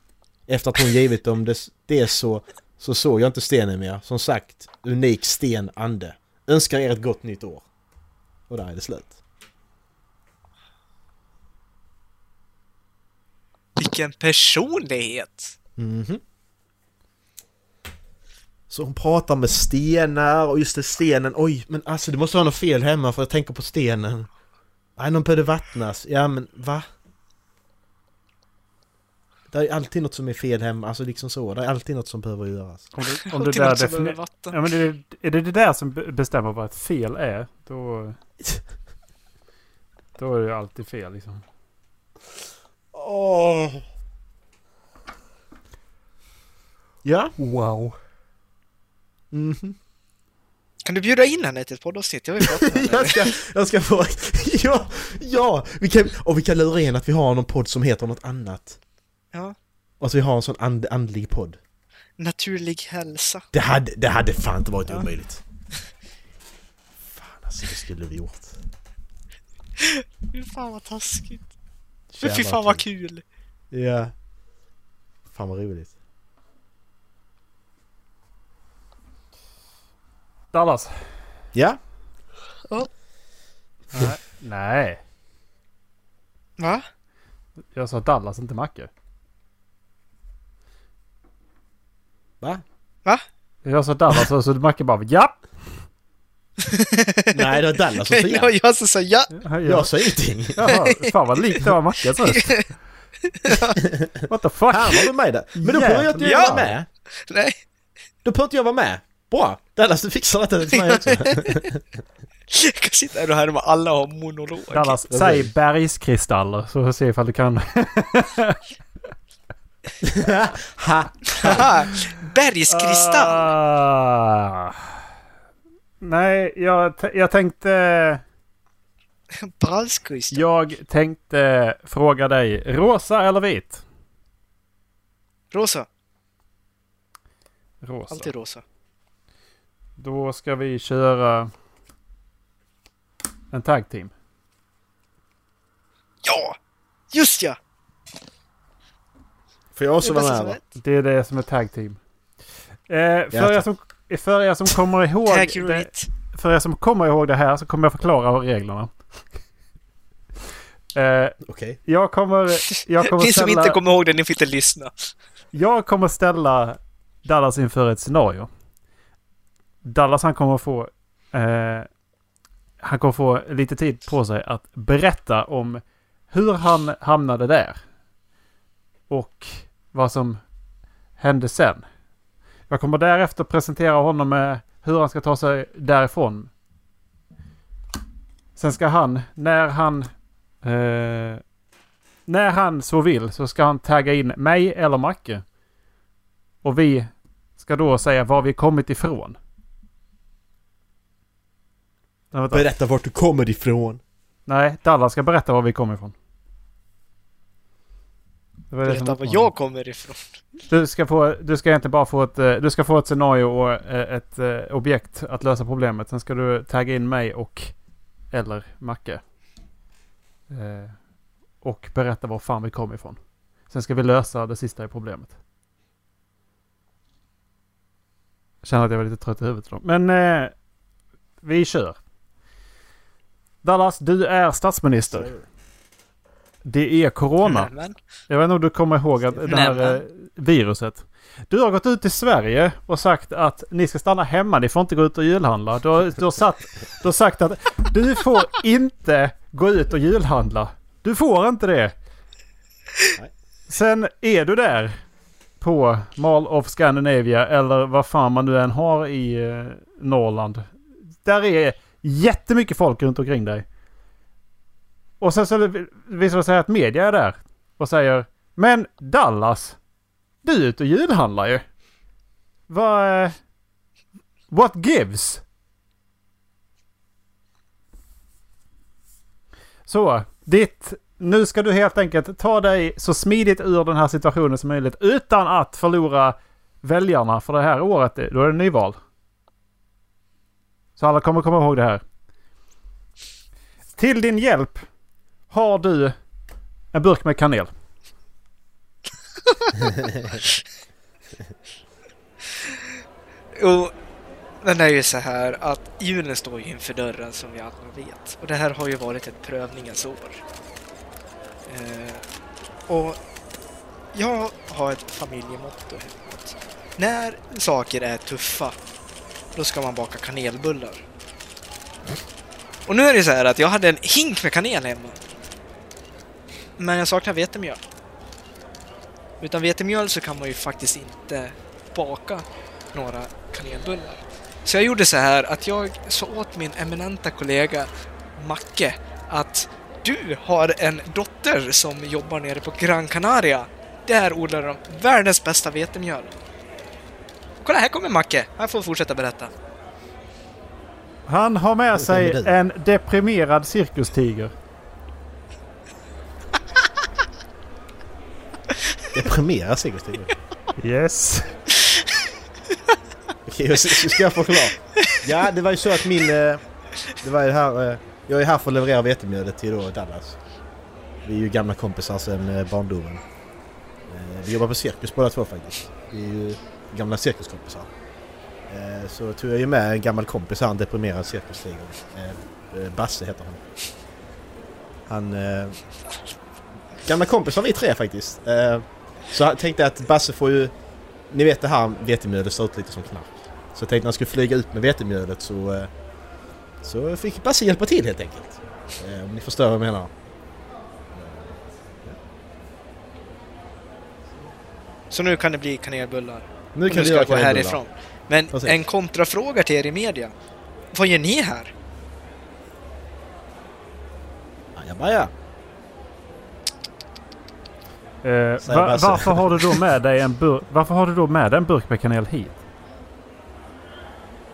Speaker 4: Efter att hon givit dem det, det så, så såg jag inte stenen mer. Som sagt, unik sten ande. Önskar er ett gott nytt år. Och där är det slut.
Speaker 5: Vilken personlighet!
Speaker 4: Mhm. Så hon pratar med stenar och just det stenen, oj men alltså det måste vara något fel hemma för jag tänker på stenen. Nej, någon behövde vattnas. Ja men va? Det är alltid något som är fel hemma, alltså liksom så. Det är alltid något som behöver göras.
Speaker 3: Om det, om
Speaker 5: Om
Speaker 3: det
Speaker 5: du
Speaker 3: där
Speaker 5: där
Speaker 3: defini-
Speaker 5: defini- vatten.
Speaker 3: Ja, men är, det, är det det där som be- bestämmer vad ett fel är, då... Då är det ju alltid fel liksom.
Speaker 4: Åh. Ja. Wow. Mhm.
Speaker 5: Kan du bjuda in henne till ett poddavsnitt? Jag vill prata med henne.
Speaker 4: Jag ska, jag ska få... Ja! Ja! Vi kan, och vi kan lura in att vi har någon podd som heter något annat.
Speaker 5: Ja.
Speaker 4: Och att vi har en sån and, andlig podd.
Speaker 5: Naturlig hälsa.
Speaker 4: Det hade, det hade fan inte varit omöjligt. Fan alltså, det skulle vi gjort.
Speaker 5: Fy fan vad taskigt.
Speaker 4: Jävlar,
Speaker 5: Fy fan vad kul!
Speaker 4: Ja. Fan vad roligt.
Speaker 3: Dallas?
Speaker 4: Ja.
Speaker 3: Nej. Nej.
Speaker 5: Va?
Speaker 3: Jag sa Dallas, inte Macke.
Speaker 4: Va?
Speaker 3: Jag sa Dallas och så Macke bara ja.
Speaker 4: Nej, det var Dallas som sa
Speaker 5: Nej, det var
Speaker 4: ja.
Speaker 5: jag som sa ja!
Speaker 3: ja.
Speaker 4: Jag sa ingenting.
Speaker 3: Jaha, fan vad likt det var Mackes röst. What the fuck?
Speaker 4: Fan var du med där. Men då behöver jag inte
Speaker 5: Jävlar.
Speaker 4: vara med.
Speaker 5: Nej!
Speaker 4: Då behöver inte jag vara med. Bra! Dallas, du fixar detta till mig också.
Speaker 5: Jag kan sitta här och höra med alla har monolog.
Speaker 3: Dallas,
Speaker 4: Okej.
Speaker 3: säg bergskristaller så ser vi ifall du kan.
Speaker 4: ha!
Speaker 5: Haha! Bergskristall!
Speaker 3: Ah. Nej, jag, t- jag tänkte...
Speaker 5: Bergskristall.
Speaker 3: Jag tänkte fråga dig, rosa eller vit?
Speaker 5: Rosa.
Speaker 3: Rosa.
Speaker 5: Alltid rosa.
Speaker 3: Då ska vi köra en tag team.
Speaker 5: Ja! Just ja!
Speaker 4: Får jag också
Speaker 5: Det
Speaker 4: vara
Speaker 5: bästa
Speaker 4: med?
Speaker 5: som
Speaker 4: va?
Speaker 5: vet.
Speaker 3: Det är det som är tag team. Eh, för, er
Speaker 4: tack.
Speaker 3: som, för er som kommer ihåg
Speaker 5: Tag
Speaker 3: det,
Speaker 5: rate.
Speaker 3: För er som kommer ihåg det här så kommer jag förklara reglerna. Eh,
Speaker 4: Okej.
Speaker 3: jag kommer, jag kommer
Speaker 5: Ni som
Speaker 3: ställa...
Speaker 5: inte kommer ihåg det, ni får inte lyssna.
Speaker 3: Jag kommer ställa Dallas inför ett scenario. Dallas han kommer få eh, han kommer få lite tid på sig att berätta om hur han hamnade där. Och vad som hände sen. Jag kommer därefter presentera honom med hur han ska ta sig därifrån. Sen ska han, när han... Eh, när han så vill så ska han tagga in mig eller Macke. Och vi ska då säga var vi kommit ifrån. Nej, vänta.
Speaker 4: Berätta vart du kommer ifrån.
Speaker 3: Nej, Dallas ska berätta var vi kommer ifrån. Det var det som
Speaker 5: Berätta var
Speaker 3: utmanade.
Speaker 5: jag kommer ifrån.
Speaker 3: Du ska, få, du ska inte bara få ett, eh, du ska få ett scenario och eh, ett eh, objekt att lösa problemet. Sen ska du tagga in mig och eller Macke. Eh, Och berätta var fan vi kom ifrån. Sen ska vi lösa det sista i problemet. Jag känner att jag var lite trött i huvudet idag. Men eh, vi kör. Dallas, du är statsminister. Det är corona.
Speaker 5: Nämen.
Speaker 3: Jag vet inte om du kommer ihåg att det här eh, viruset. Du har gått ut till Sverige och sagt att ni ska stanna hemma, ni får inte gå ut och julhandla. Du har, du har, satt, du har sagt att du får inte gå ut och julhandla. Du får inte det.
Speaker 4: Nej.
Speaker 3: Sen är du där på Mall of Scandinavia eller vad fan man nu än har i eh, Norrland. Där är jättemycket folk runt omkring dig. Och sen så visar det sig att media är där och säger Men Dallas, du är ute och julhandlar ju. Vad... eh, What gives? Så, ditt... Nu ska du helt enkelt ta dig så smidigt ur den här situationen som möjligt utan att förlora väljarna för det här året. Då är det nyval. Så alla kommer komma ihåg det här. Till din hjälp har du en burk med kanel.
Speaker 5: Jo, men det är ju så här att julen står ju inför dörren som vi alla vet. Och det här har ju varit ett prövningens år. Eh, och jag har ett familjemotto hemåt. När saker är tuffa, då ska man baka kanelbullar. Och nu är det så här att jag hade en hink med kanel hemma. Men jag saknar vetemjöl. Utan vetemjöl så kan man ju faktiskt inte baka några kanelbullar. Så jag gjorde så här att jag sa åt min eminenta kollega Macke att du har en dotter som jobbar nere på Gran Canaria. Där odlar de världens bästa vetemjöl. Kolla, här kommer Macke! Han får fortsätta berätta.
Speaker 3: Han har med
Speaker 4: Vad
Speaker 3: sig
Speaker 4: säger du?
Speaker 3: en deprimerad cirkustiger.
Speaker 4: Deprimera Sigurdstigen.
Speaker 3: Yes.
Speaker 4: Okej, jag ska ska jag förklara? Ja, det var ju så att min... eh, Det var ju här... eh, Jag är här för att leverera vetemjölet till då Dallas. Vi är ju gamla kompisar sedan eh, barndomen. Eh, Vi jobbar på cirkus båda två faktiskt. Vi är ju gamla cirkuskompisar. Eh, Så tog jag ju med en gammal kompis här, en deprimerad cirkustiger. Eh, eh, Basse heter han. Han... eh, Gamla kompisar vi tre faktiskt. Eh, Så jag tänkte att Basse får ju... Ni vet det här vetemjölet ser ut lite som knark. Så jag tänkte när jag skulle flyga ut med vetemjölet så... eh, Så fick Basse hjälpa till helt enkelt. Eh, Om ni förstår vad jag menar.
Speaker 5: Så nu kan det bli kanelbullar.
Speaker 4: Nu
Speaker 5: Och nu ska jag gå härifrån. Men
Speaker 4: Precis.
Speaker 5: en kontrafråga till er i media. Vad gör ni här?
Speaker 4: Ajabaja!
Speaker 3: Eh,
Speaker 4: Säg
Speaker 3: va,
Speaker 4: bara så.
Speaker 3: varför har du då med dig en burk? Varför har du då med dig en burk med kanel hit?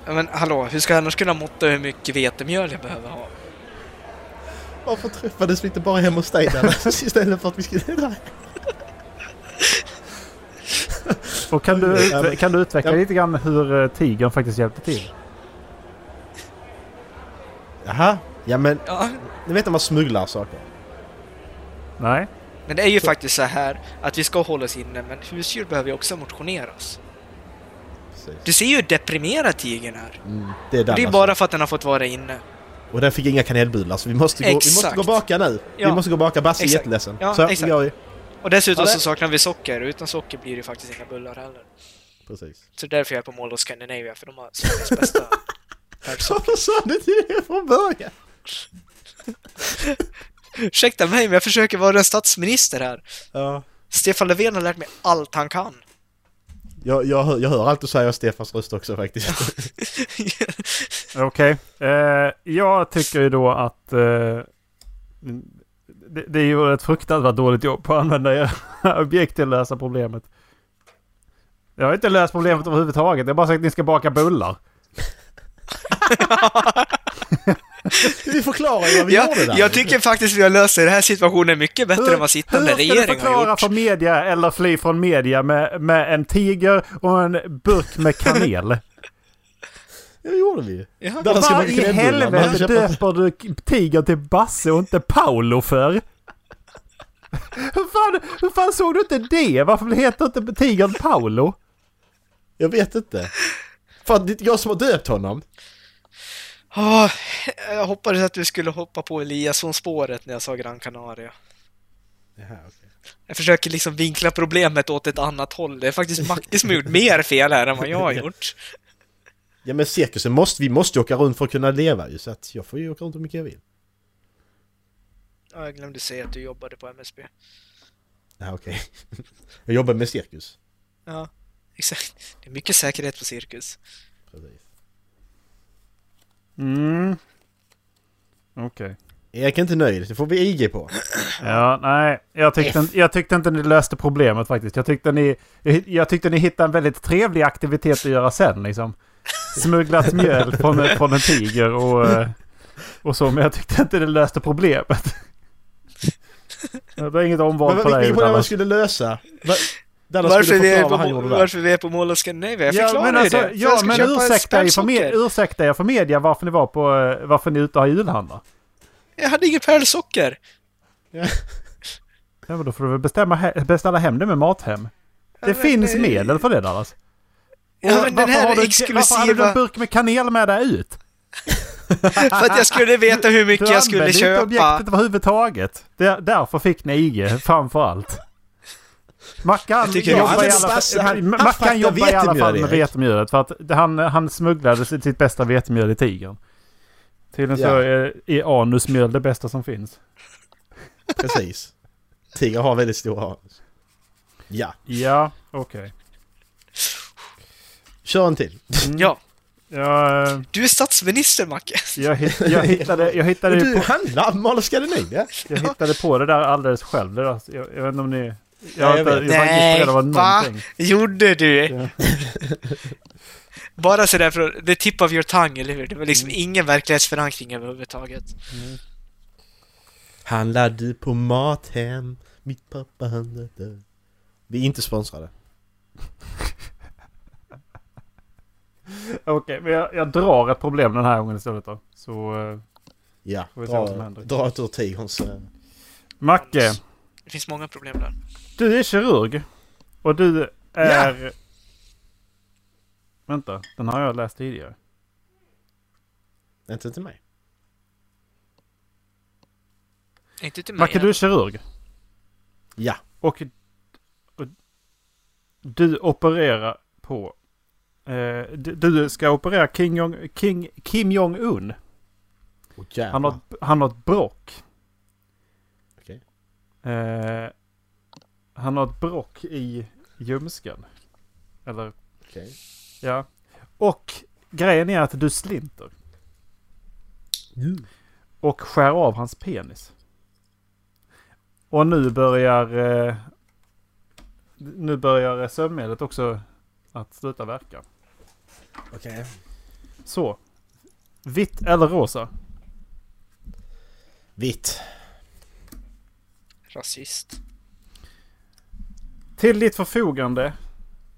Speaker 5: Ja, Men hallå, hur ska jag annars kunna måtta hur mycket vetemjöl jag behöver ha?
Speaker 4: Varför träffades vi inte bara hemma hos dig Dallas istället för att vi skulle...
Speaker 3: Och kan du,
Speaker 4: Ja,
Speaker 3: utve-
Speaker 4: men-
Speaker 3: kan du utveckla
Speaker 4: Ja.
Speaker 3: lite grann hur eh, tigern faktiskt hjälpte till?
Speaker 4: Jaha? Ja men,
Speaker 5: Ja,
Speaker 4: ni vet när man smugglar saker?
Speaker 3: Nej.
Speaker 5: Men det är ju faktiskt så här att vi ska hålla oss inne, men husdjur behöver ju också motioneras.
Speaker 4: Precis.
Speaker 5: Du ser ju hur deprimerad tigern är.
Speaker 4: Mm, det är
Speaker 5: Och
Speaker 4: Dallas.
Speaker 5: det är bara för att den har fått vara inne.
Speaker 4: Och den fick inga kanelbullar så vi måste gå, vi måste
Speaker 5: Exakt.
Speaker 4: gå och baka nu.
Speaker 5: Ja.
Speaker 4: Vi måste gå och baka. Basse är
Speaker 5: Exakt.
Speaker 4: jätteledsen.
Speaker 5: Ja,
Speaker 4: så här,
Speaker 5: exakt.
Speaker 4: vi går ju.
Speaker 5: Och dessutom
Speaker 4: Ja, det-
Speaker 5: så saknar vi socker, och utan socker blir det ju faktiskt inga bullar heller.
Speaker 4: Precis.
Speaker 5: Så därför är jag på Mall of Scandinavia, för de har Sveriges bästa Tack.
Speaker 4: Varför sa du inte det från början?
Speaker 5: Ursäkta mig, men jag försöker vara en statsminister här.
Speaker 4: Ja.
Speaker 5: Stefan Löfven har lärt mig allt han kan.
Speaker 4: Jag, jag, hör, jag hör allt du säger Stefans röst också faktiskt.
Speaker 3: Okej. Eh, jag tycker ju då att eh, det, det är ju ett fruktansvärt dåligt jobb på att använda era objekt till att lösa problemet. Jag har inte löst problemet överhuvudtaget. Jag har bara sagt att ni ska baka bullar.
Speaker 4: Vi förklarar ju vad vi gjorde
Speaker 5: jag,
Speaker 4: där.
Speaker 5: jag tycker faktiskt vi har löst den här situationen mycket bättre än vad sittande
Speaker 3: hur ska du
Speaker 5: regering har
Speaker 3: förklara
Speaker 5: gjort.
Speaker 3: för media eller fly från media med, med en tiger och en burk med kanel?
Speaker 4: Det gjorde vi ju.
Speaker 5: Ja.
Speaker 4: Där ska man
Speaker 3: Vad i
Speaker 4: knäbullar, man
Speaker 3: helvete
Speaker 4: köper-
Speaker 3: döper du k- tigern till Basse och inte Paolo för? hur, fan, hur fan såg du inte det? Varför heter inte tigern Paolo?
Speaker 4: Jag vet inte. Fan, det är jag som har döpt honom.
Speaker 5: Åh, Ah, jag hoppades att du skulle hoppa på Eliasson-spåret när jag sa Gran Canaria. Jag försöker liksom vinkla problemet åt ett annat håll. Det är faktiskt Macke som har gjort mer fel här än vad jag har gjort.
Speaker 4: Ja men cirkusen måste, vi måste ju åka runt för att kunna leva ju så att jag får ju åka runt hur mycket jag vill.
Speaker 5: Ja, Jag glömde säga att du jobbade på MSB.
Speaker 4: Ja okej. Jag jobbar med cirkus.
Speaker 5: Ja, exakt. Det är mycket säkerhet på cirkus.
Speaker 4: Precis.
Speaker 3: Mm. Okej.
Speaker 4: Erik är inte nöjd, det får vi IG på.
Speaker 3: Ja, nej. Jag tyckte, inte- jag tyckte inte ni löste problemet faktiskt. Jag tyckte, ni, jag tyckte ni hittade en väldigt trevlig aktivitet att göra sen liksom. Smugglat mjöl från, en- från en tiger och, eh, och så. Men jag tyckte inte det löste problemet. Det var inget omval
Speaker 4: Men
Speaker 3: på
Speaker 4: vad-
Speaker 3: dig.
Speaker 4: vilken problem
Speaker 3: utan-
Speaker 4: vi skulle lösa? Va- Dallas
Speaker 5: Varför
Speaker 4: skulle
Speaker 5: vi, är
Speaker 4: förklara
Speaker 5: på,
Speaker 4: vad han gjorde där.
Speaker 5: varför vi är på Mall of Scandinavia? Jag förklarar ju det. För jag
Speaker 3: ja,
Speaker 5: ska
Speaker 3: men
Speaker 5: köpa
Speaker 3: ursäkta er, för med,
Speaker 5: pärlsocker.
Speaker 3: ursäkta er för media varför ni var på, eh, varför ni är ute och har julhandlar.
Speaker 5: Jag hade inget pärlsocker.
Speaker 3: Ja, men då får du väl bestämma he- beställa hem det med Mathem. Det
Speaker 5: men
Speaker 3: finns
Speaker 5: det-
Speaker 3: medel för det Dallas.
Speaker 5: Ja,
Speaker 3: Och
Speaker 5: men den
Speaker 3: varför har
Speaker 5: här
Speaker 3: du- Varför hade du en
Speaker 5: exklusiva...
Speaker 3: burk med kanel med dig ut?
Speaker 5: För att jag skulle veta hur
Speaker 3: Du
Speaker 5: mycket jag skulle
Speaker 3: använde inte
Speaker 5: köpa.
Speaker 3: objektet överhuvudtaget. Där, därför fick ni IG framför allt. Mackan
Speaker 5: Jag tycker jag
Speaker 3: jobbar i
Speaker 5: använder
Speaker 3: alla
Speaker 4: Basse, han-
Speaker 3: fall,
Speaker 4: han
Speaker 3: Mackan
Speaker 4: fraktar
Speaker 3: jobbar i alla
Speaker 4: vetemjöl,
Speaker 3: fall med
Speaker 4: Erik.
Speaker 3: vetemjölet för att han, han smugglade sitt sitt bästa vetemjöl i tigern. Tydligen så
Speaker 4: Ja.
Speaker 3: är, är anusmjöl det bästa som finns.
Speaker 4: Precis. Tigrar har väldigt stora anus. Ja,
Speaker 3: Ja, okej.
Speaker 4: kör en till.
Speaker 5: Ja,
Speaker 3: Jag, eh,
Speaker 5: du är statsminister Macke.
Speaker 3: jag, hitt, jag, hittade, jag, hittade ju
Speaker 4: Du
Speaker 3: på,
Speaker 4: handlar Mall of Scandinavia?
Speaker 3: jag hittade på det där alldeles själv. Det där, jag, jag vet inte om ni... Jag,
Speaker 4: jag
Speaker 3: har inte-
Speaker 4: vet.
Speaker 3: jag, var inte
Speaker 5: Nej,
Speaker 3: inspirerad av
Speaker 5: va?
Speaker 3: någonting.
Speaker 5: Gjorde du? Bara sådär från the tip of your tongue, eller hur? Det var liksom
Speaker 3: Mm.
Speaker 5: ingen verklighetsförankring överhuvudtaget.
Speaker 4: Handlar du på Mathem? Mitt pappa handlade... Vi är inte sponsrade.
Speaker 3: Okej, men jag, jag drar ett problem den här gången istället då. Så... Eh,
Speaker 4: Ja,
Speaker 3: Får vi se vad som
Speaker 4: dra,
Speaker 3: händer.
Speaker 4: dra ett ur tigerns... eh,
Speaker 3: Macke,
Speaker 5: Det finns många problem där.
Speaker 3: du är kirurg. Och du är... Vänta, den har jag läst tidigare.
Speaker 4: Inte till mig.
Speaker 5: Inte till mig.
Speaker 3: Macke, du är kirurg.
Speaker 4: Ja.
Speaker 3: Och, och du opererar på... Eh, du, du ska operera King Jong, King, Kim Jong-Un.
Speaker 4: Oh,
Speaker 3: Han har, han har ett brock.
Speaker 4: Okej.
Speaker 3: Eh, han har ett brock i ljumsken. Eller,
Speaker 4: Okej.
Speaker 3: ja. Och grejen är att du slinter. Och skär av hans penis. Och nu börjar... Eh, nu börjar sömnmedlet också att sluta verka.
Speaker 4: Okej.
Speaker 3: Så. Vitt eller rosa?
Speaker 4: Vitt.
Speaker 5: Rasist.
Speaker 3: Till ditt förfogande.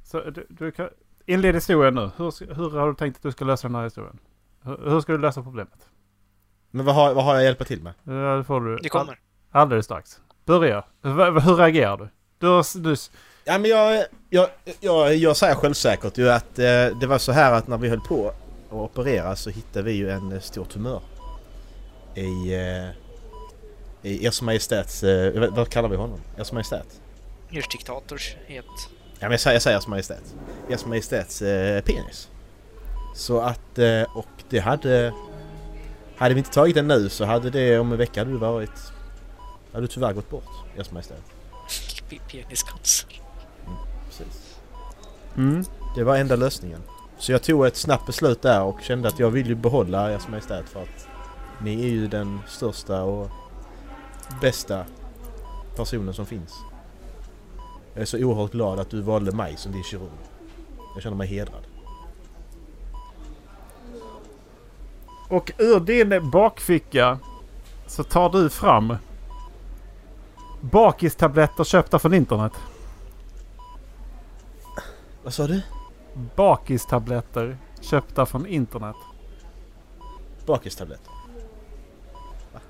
Speaker 3: Så du, du kan, inled historien nu. Hur, ska- hur har du tänkt att du ska lösa den här historien? Hur, hur ska du lösa problemet?
Speaker 4: Men vad har, vad har jag att hjälpa till med?
Speaker 3: Eh, Det får du
Speaker 5: Det kommer.
Speaker 3: all- alldeles strax. Börja. V- hur reagerar du? Du har s- du, s-
Speaker 4: Ja men jag, jag, jag, jag säger självsäkert ju att eh, det var så här att när vi höll på att operera så hittade vi ju en eh, stor tumör. I... Eh, I Ers Majestäts... Eh, vad- vad kallar vi honom? Ers Majestät?
Speaker 5: Ers diktators het.
Speaker 4: Ja men jag säger, jag säger Ers Majestät. Ers Majestäts eh, penis. Så att, eh, och det hade... Hade vi inte tagit den nu så hade det om en vecka hade du varit... Hade du tyvärr gått bort, Ers Majestät.
Speaker 5: P- Peniscancer.
Speaker 4: Precis.
Speaker 3: Mm.
Speaker 4: Det var enda lösningen. Så jag tog ett snabbt beslut där och kände att jag vill ju behålla Ers Majestät för att ni är ju den största och bästa personen som finns. Jag är så oerhört glad att du valde mig som din kirurg. Jag känner mig hedrad.
Speaker 3: Och ur din bakficka så tar du fram bakistabletter köpta från internet.
Speaker 4: Vad sa du?
Speaker 3: Bakistabletter köpta från internet.
Speaker 4: Bakistabletter. Va?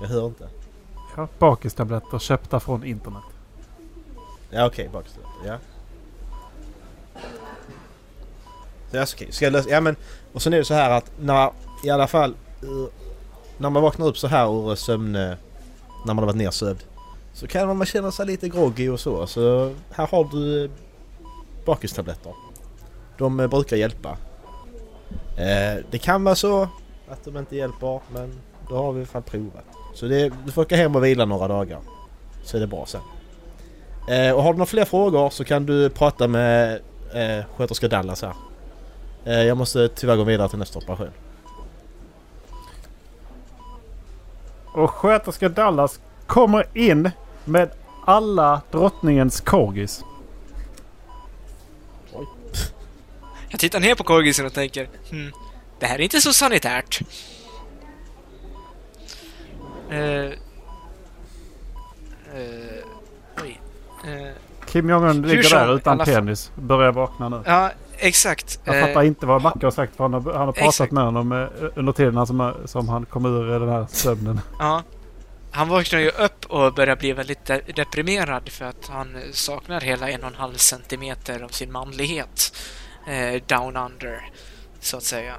Speaker 4: Jag hör inte.
Speaker 3: Ja, bakistabletter köpta från internet.
Speaker 4: Ja okej, bakistabletter. Ja. Så, alltså, okej, ska jag lösa... Ja men... Och sen är det så här att när... I alla fall... eh, När man vaknar upp så här ur sömn... eh, När man har varit nersövd. Så kan man- man känna sig lite groggy och så. Så här har du eh, bakistabletter. De eh, brukar hjälpa. Eh, det kan vara så att de inte hjälper men då har vi fan provat. Så det, du får åka hem och vila några dagar. Så är det bra sen. Eh, och har du några fler frågor så kan du prata med eh, sköterska Dallas här. Eh, jag måste tyvärr gå vidare till nästa operation.
Speaker 3: Och sköterska Dallas kommer in med alla drottningens korgis.
Speaker 5: Jag tittar ner på korgisen och tänker hmm, det här är inte så sanitärt. Eh, eh, oj. Eh,
Speaker 3: Kim Jong-Un ligger
Speaker 5: som,
Speaker 3: där utan
Speaker 5: alla fall.
Speaker 3: penis. Börjar vakna nu.
Speaker 5: ja, exakt.
Speaker 3: Jag
Speaker 5: Eh,
Speaker 3: fattar inte vad Macke har sagt för han har, han har pratat
Speaker 5: Exakt.
Speaker 3: med honom eh, under tiden han som, som han kom ur den här sömnen.
Speaker 5: Ja. Han vaknar ju upp och börjar bli väldigt de- deprimerad för att han saknar hela en och en halv centimeter av sin manlighet. Eh, down under, så att säga.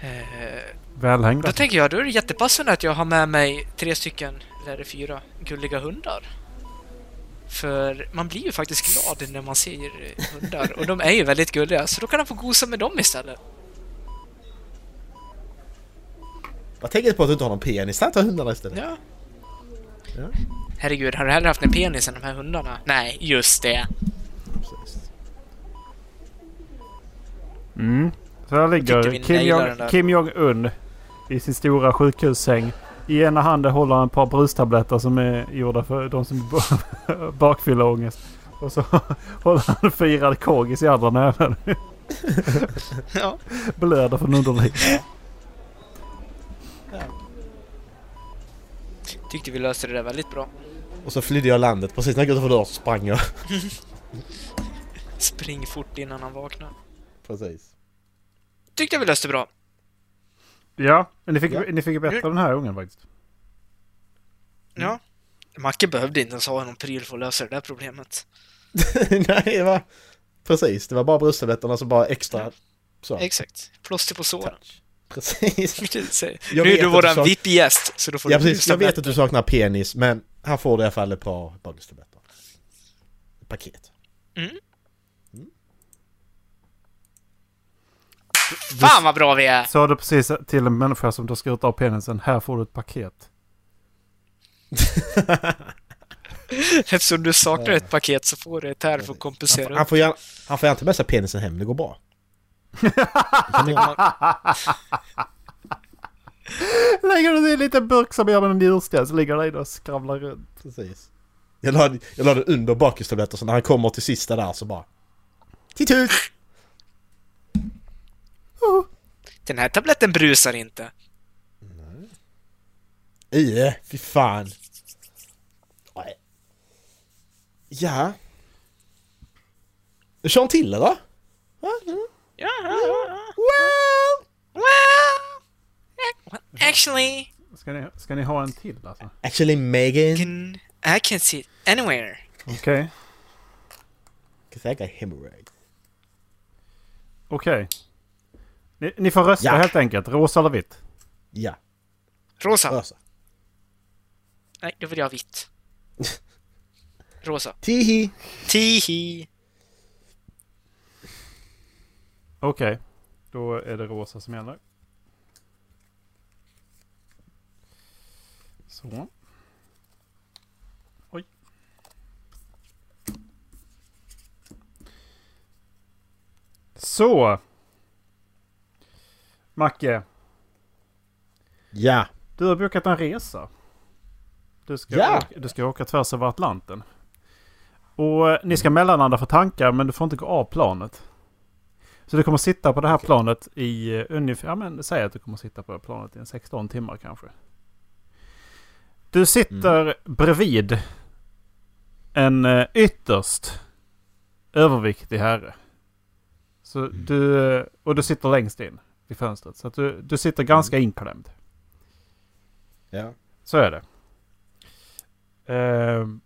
Speaker 5: Eh,
Speaker 3: Välhängda.
Speaker 5: då tänker jag, då är det jättepassande att jag har med mig tre stycken, eller fyra, gulliga hundar. För man blir ju faktiskt glad när man ser eh, hundar och de är ju väldigt gulliga, så då kan han få gosa med dem istället.
Speaker 4: Vad tänker du på att du inte har någon penis? Ta hundarna istället.
Speaker 5: Ja.
Speaker 4: Ja.
Speaker 5: Herregud, har du hellre haft en penis än de här hundarna? Nej, just det.
Speaker 4: Precis.
Speaker 3: Mm. Så här
Speaker 5: tycker
Speaker 3: ligger
Speaker 5: vi
Speaker 3: Kim,
Speaker 5: nailar
Speaker 3: Jong,
Speaker 5: den där.
Speaker 3: Kim Jong-Un i sin stora sjukhussäng. I ena handen håller han ett par brustabletter som är gjorda för de som har bakfylleångest. Och så håller han firad korgis i andra näven.
Speaker 5: Ja.
Speaker 3: Blöder från underlivet.
Speaker 5: Tyckte vi löste det där väldigt bra.
Speaker 4: Och så flydde jag landet. Precis när jag gick utanför dörren så sprang jag.
Speaker 5: Spring fort innan han vaknar.
Speaker 4: Precis.
Speaker 5: Tyckte vi löste bra.
Speaker 3: Ja, men ni fick,
Speaker 4: Ja.
Speaker 3: ni fick bättre den här gången faktiskt.
Speaker 4: Mm.
Speaker 5: Ja. Macke behövde inte ens ha någon pryl för att lösa det där problemet.
Speaker 4: Nej, det var... Precis, det var bara brösttabletterna som bara extra... Så.
Speaker 5: Exakt. Plåster på såren.
Speaker 4: Precis.
Speaker 5: Jag vill säga. Nu
Speaker 4: Jag
Speaker 5: är
Speaker 4: vet
Speaker 5: du
Speaker 4: att du
Speaker 5: våran
Speaker 4: sa-
Speaker 5: VIP-gäst, så då får
Speaker 4: Ja,
Speaker 5: du
Speaker 4: precis. Jag
Speaker 5: lyssna
Speaker 4: vet
Speaker 5: med.
Speaker 4: att du saknar penis men här får du i alla fall ett par bakistabletter. Ett paket.
Speaker 5: Fan vad bra vi är!
Speaker 3: Sa du precis till en människa som du skurit av penisen. Här får du ett paket.
Speaker 5: Eftersom du saknar ett paket så får du ett här för att
Speaker 4: Han, får-
Speaker 5: kompensera.
Speaker 4: han, får, gärna, han får gärna ta med sig penisen hem, det går bra.
Speaker 3: Lägger du det i en liten burk som gör med en njursten så ligger det där och skravlar runt.
Speaker 4: Precis. Jag la, jag la det under bakistabletter så när han kommer till sista där så bara... Titut!
Speaker 5: Den här tabletten brusar inte.
Speaker 4: Ie, fy fan. Nej. Ja. Du kör en till eller? Va? Mm.
Speaker 5: Ja, ja, ja.
Speaker 4: Well!
Speaker 5: Well, actually,
Speaker 3: Ska ni, ska ni ha en till alltså?
Speaker 4: Actually Megan,
Speaker 5: can, I can see it anywhere.
Speaker 3: Okej.
Speaker 4: cause I got hemorrhoid.
Speaker 3: Okej. Ni, ni får rösta
Speaker 4: Ja.
Speaker 3: helt enkelt. Rosa eller vitt.
Speaker 4: Ja,
Speaker 5: Rosa.
Speaker 4: Rosa.
Speaker 5: Nej, då vill jag ha vitt. Rosa.
Speaker 4: Tihi!
Speaker 5: Tihi.
Speaker 3: Okej, då är det rosa som gäller. Så. Oj. Så. Macke,
Speaker 4: Ja!
Speaker 3: du har bokat en resa. Du ska,
Speaker 4: Ja.
Speaker 3: åka, du ska åka tvärs över Atlanten. Och eh, ni ska mellanlanda för tankar men du får inte gå av planet. Så du kommer sitta på det här planet i eh, ungefär, ja men säg att du kommer sitta på det här planet i en 16 timmar kanske. Du sitter bredvid en eh, ytterst överviktig herre. Så du, eh, och du sitter längst in vid fönstret. Så att du, du sitter ganska inklämd.
Speaker 4: Ja.
Speaker 3: Så är det. Ehm.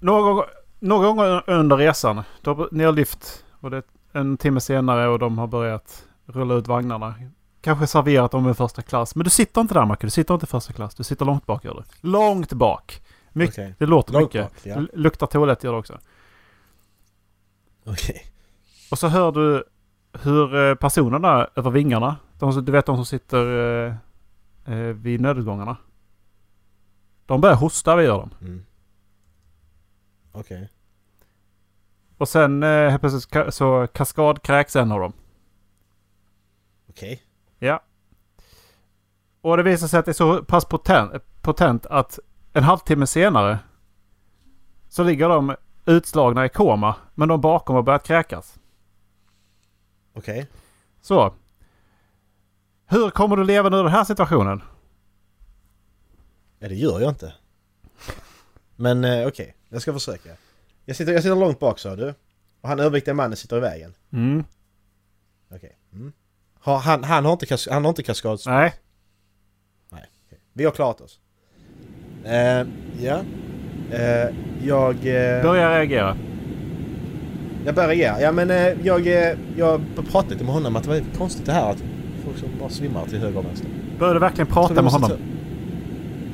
Speaker 3: några, gång- några gånger under resan, då har ni har lyft och det är en timme senare och de har börjat rulla ut vagnarna. Kanske serverat dem i första klass. Men du sitter inte där Macke, du sitter inte i första klass. Du sitter långt bak gör du. Långt bak! My-
Speaker 4: Okej.
Speaker 3: Det låter
Speaker 4: Långt
Speaker 3: mycket.
Speaker 4: bak, ja.
Speaker 3: L- Luktar toalett gör det också.
Speaker 4: Okej.
Speaker 3: Och så hör du hur eh, personerna över vingarna, de, som- du vet de som sitter eh, eh, vid nödutgångarna. De börjar hosta, vi gör dem.
Speaker 4: Mm. Okej.
Speaker 3: Och sen eh, helt plötsligt ka- så kaskadkräks en av dem.
Speaker 4: Okej.
Speaker 3: Ja. Och det visar sig att det är så pass potent, potent att en halvtimme senare så ligger de utslagna i koma. Men de bakom har börjat kräkas.
Speaker 4: Okej.
Speaker 3: Så. Hur kommer du leva nu i den här situationen?
Speaker 4: Ja, det gör jag inte. Men eh, okej, jag ska försöka. Jag sitter, jag sitter långt bak sa du. Och han överviktiga mannen sitter i vägen.
Speaker 3: Mm.
Speaker 4: Okej. Mm. Har, han, han har inte, kas, han har inte kaskads...
Speaker 3: Nej.
Speaker 4: Nej. okej. Vi har klarat oss. Eh, ja. Eh, jag... Eh,
Speaker 3: Börja reagera.
Speaker 4: jag börjar reagera. Ja men eh, jag, eh, jag pratade lite med honom att det var konstigt det här att folk som bara svimmar till höger och vänster.
Speaker 3: Börjar du verkligen
Speaker 4: Så
Speaker 3: prata
Speaker 4: vi
Speaker 3: med
Speaker 4: måste
Speaker 3: honom?
Speaker 4: ta-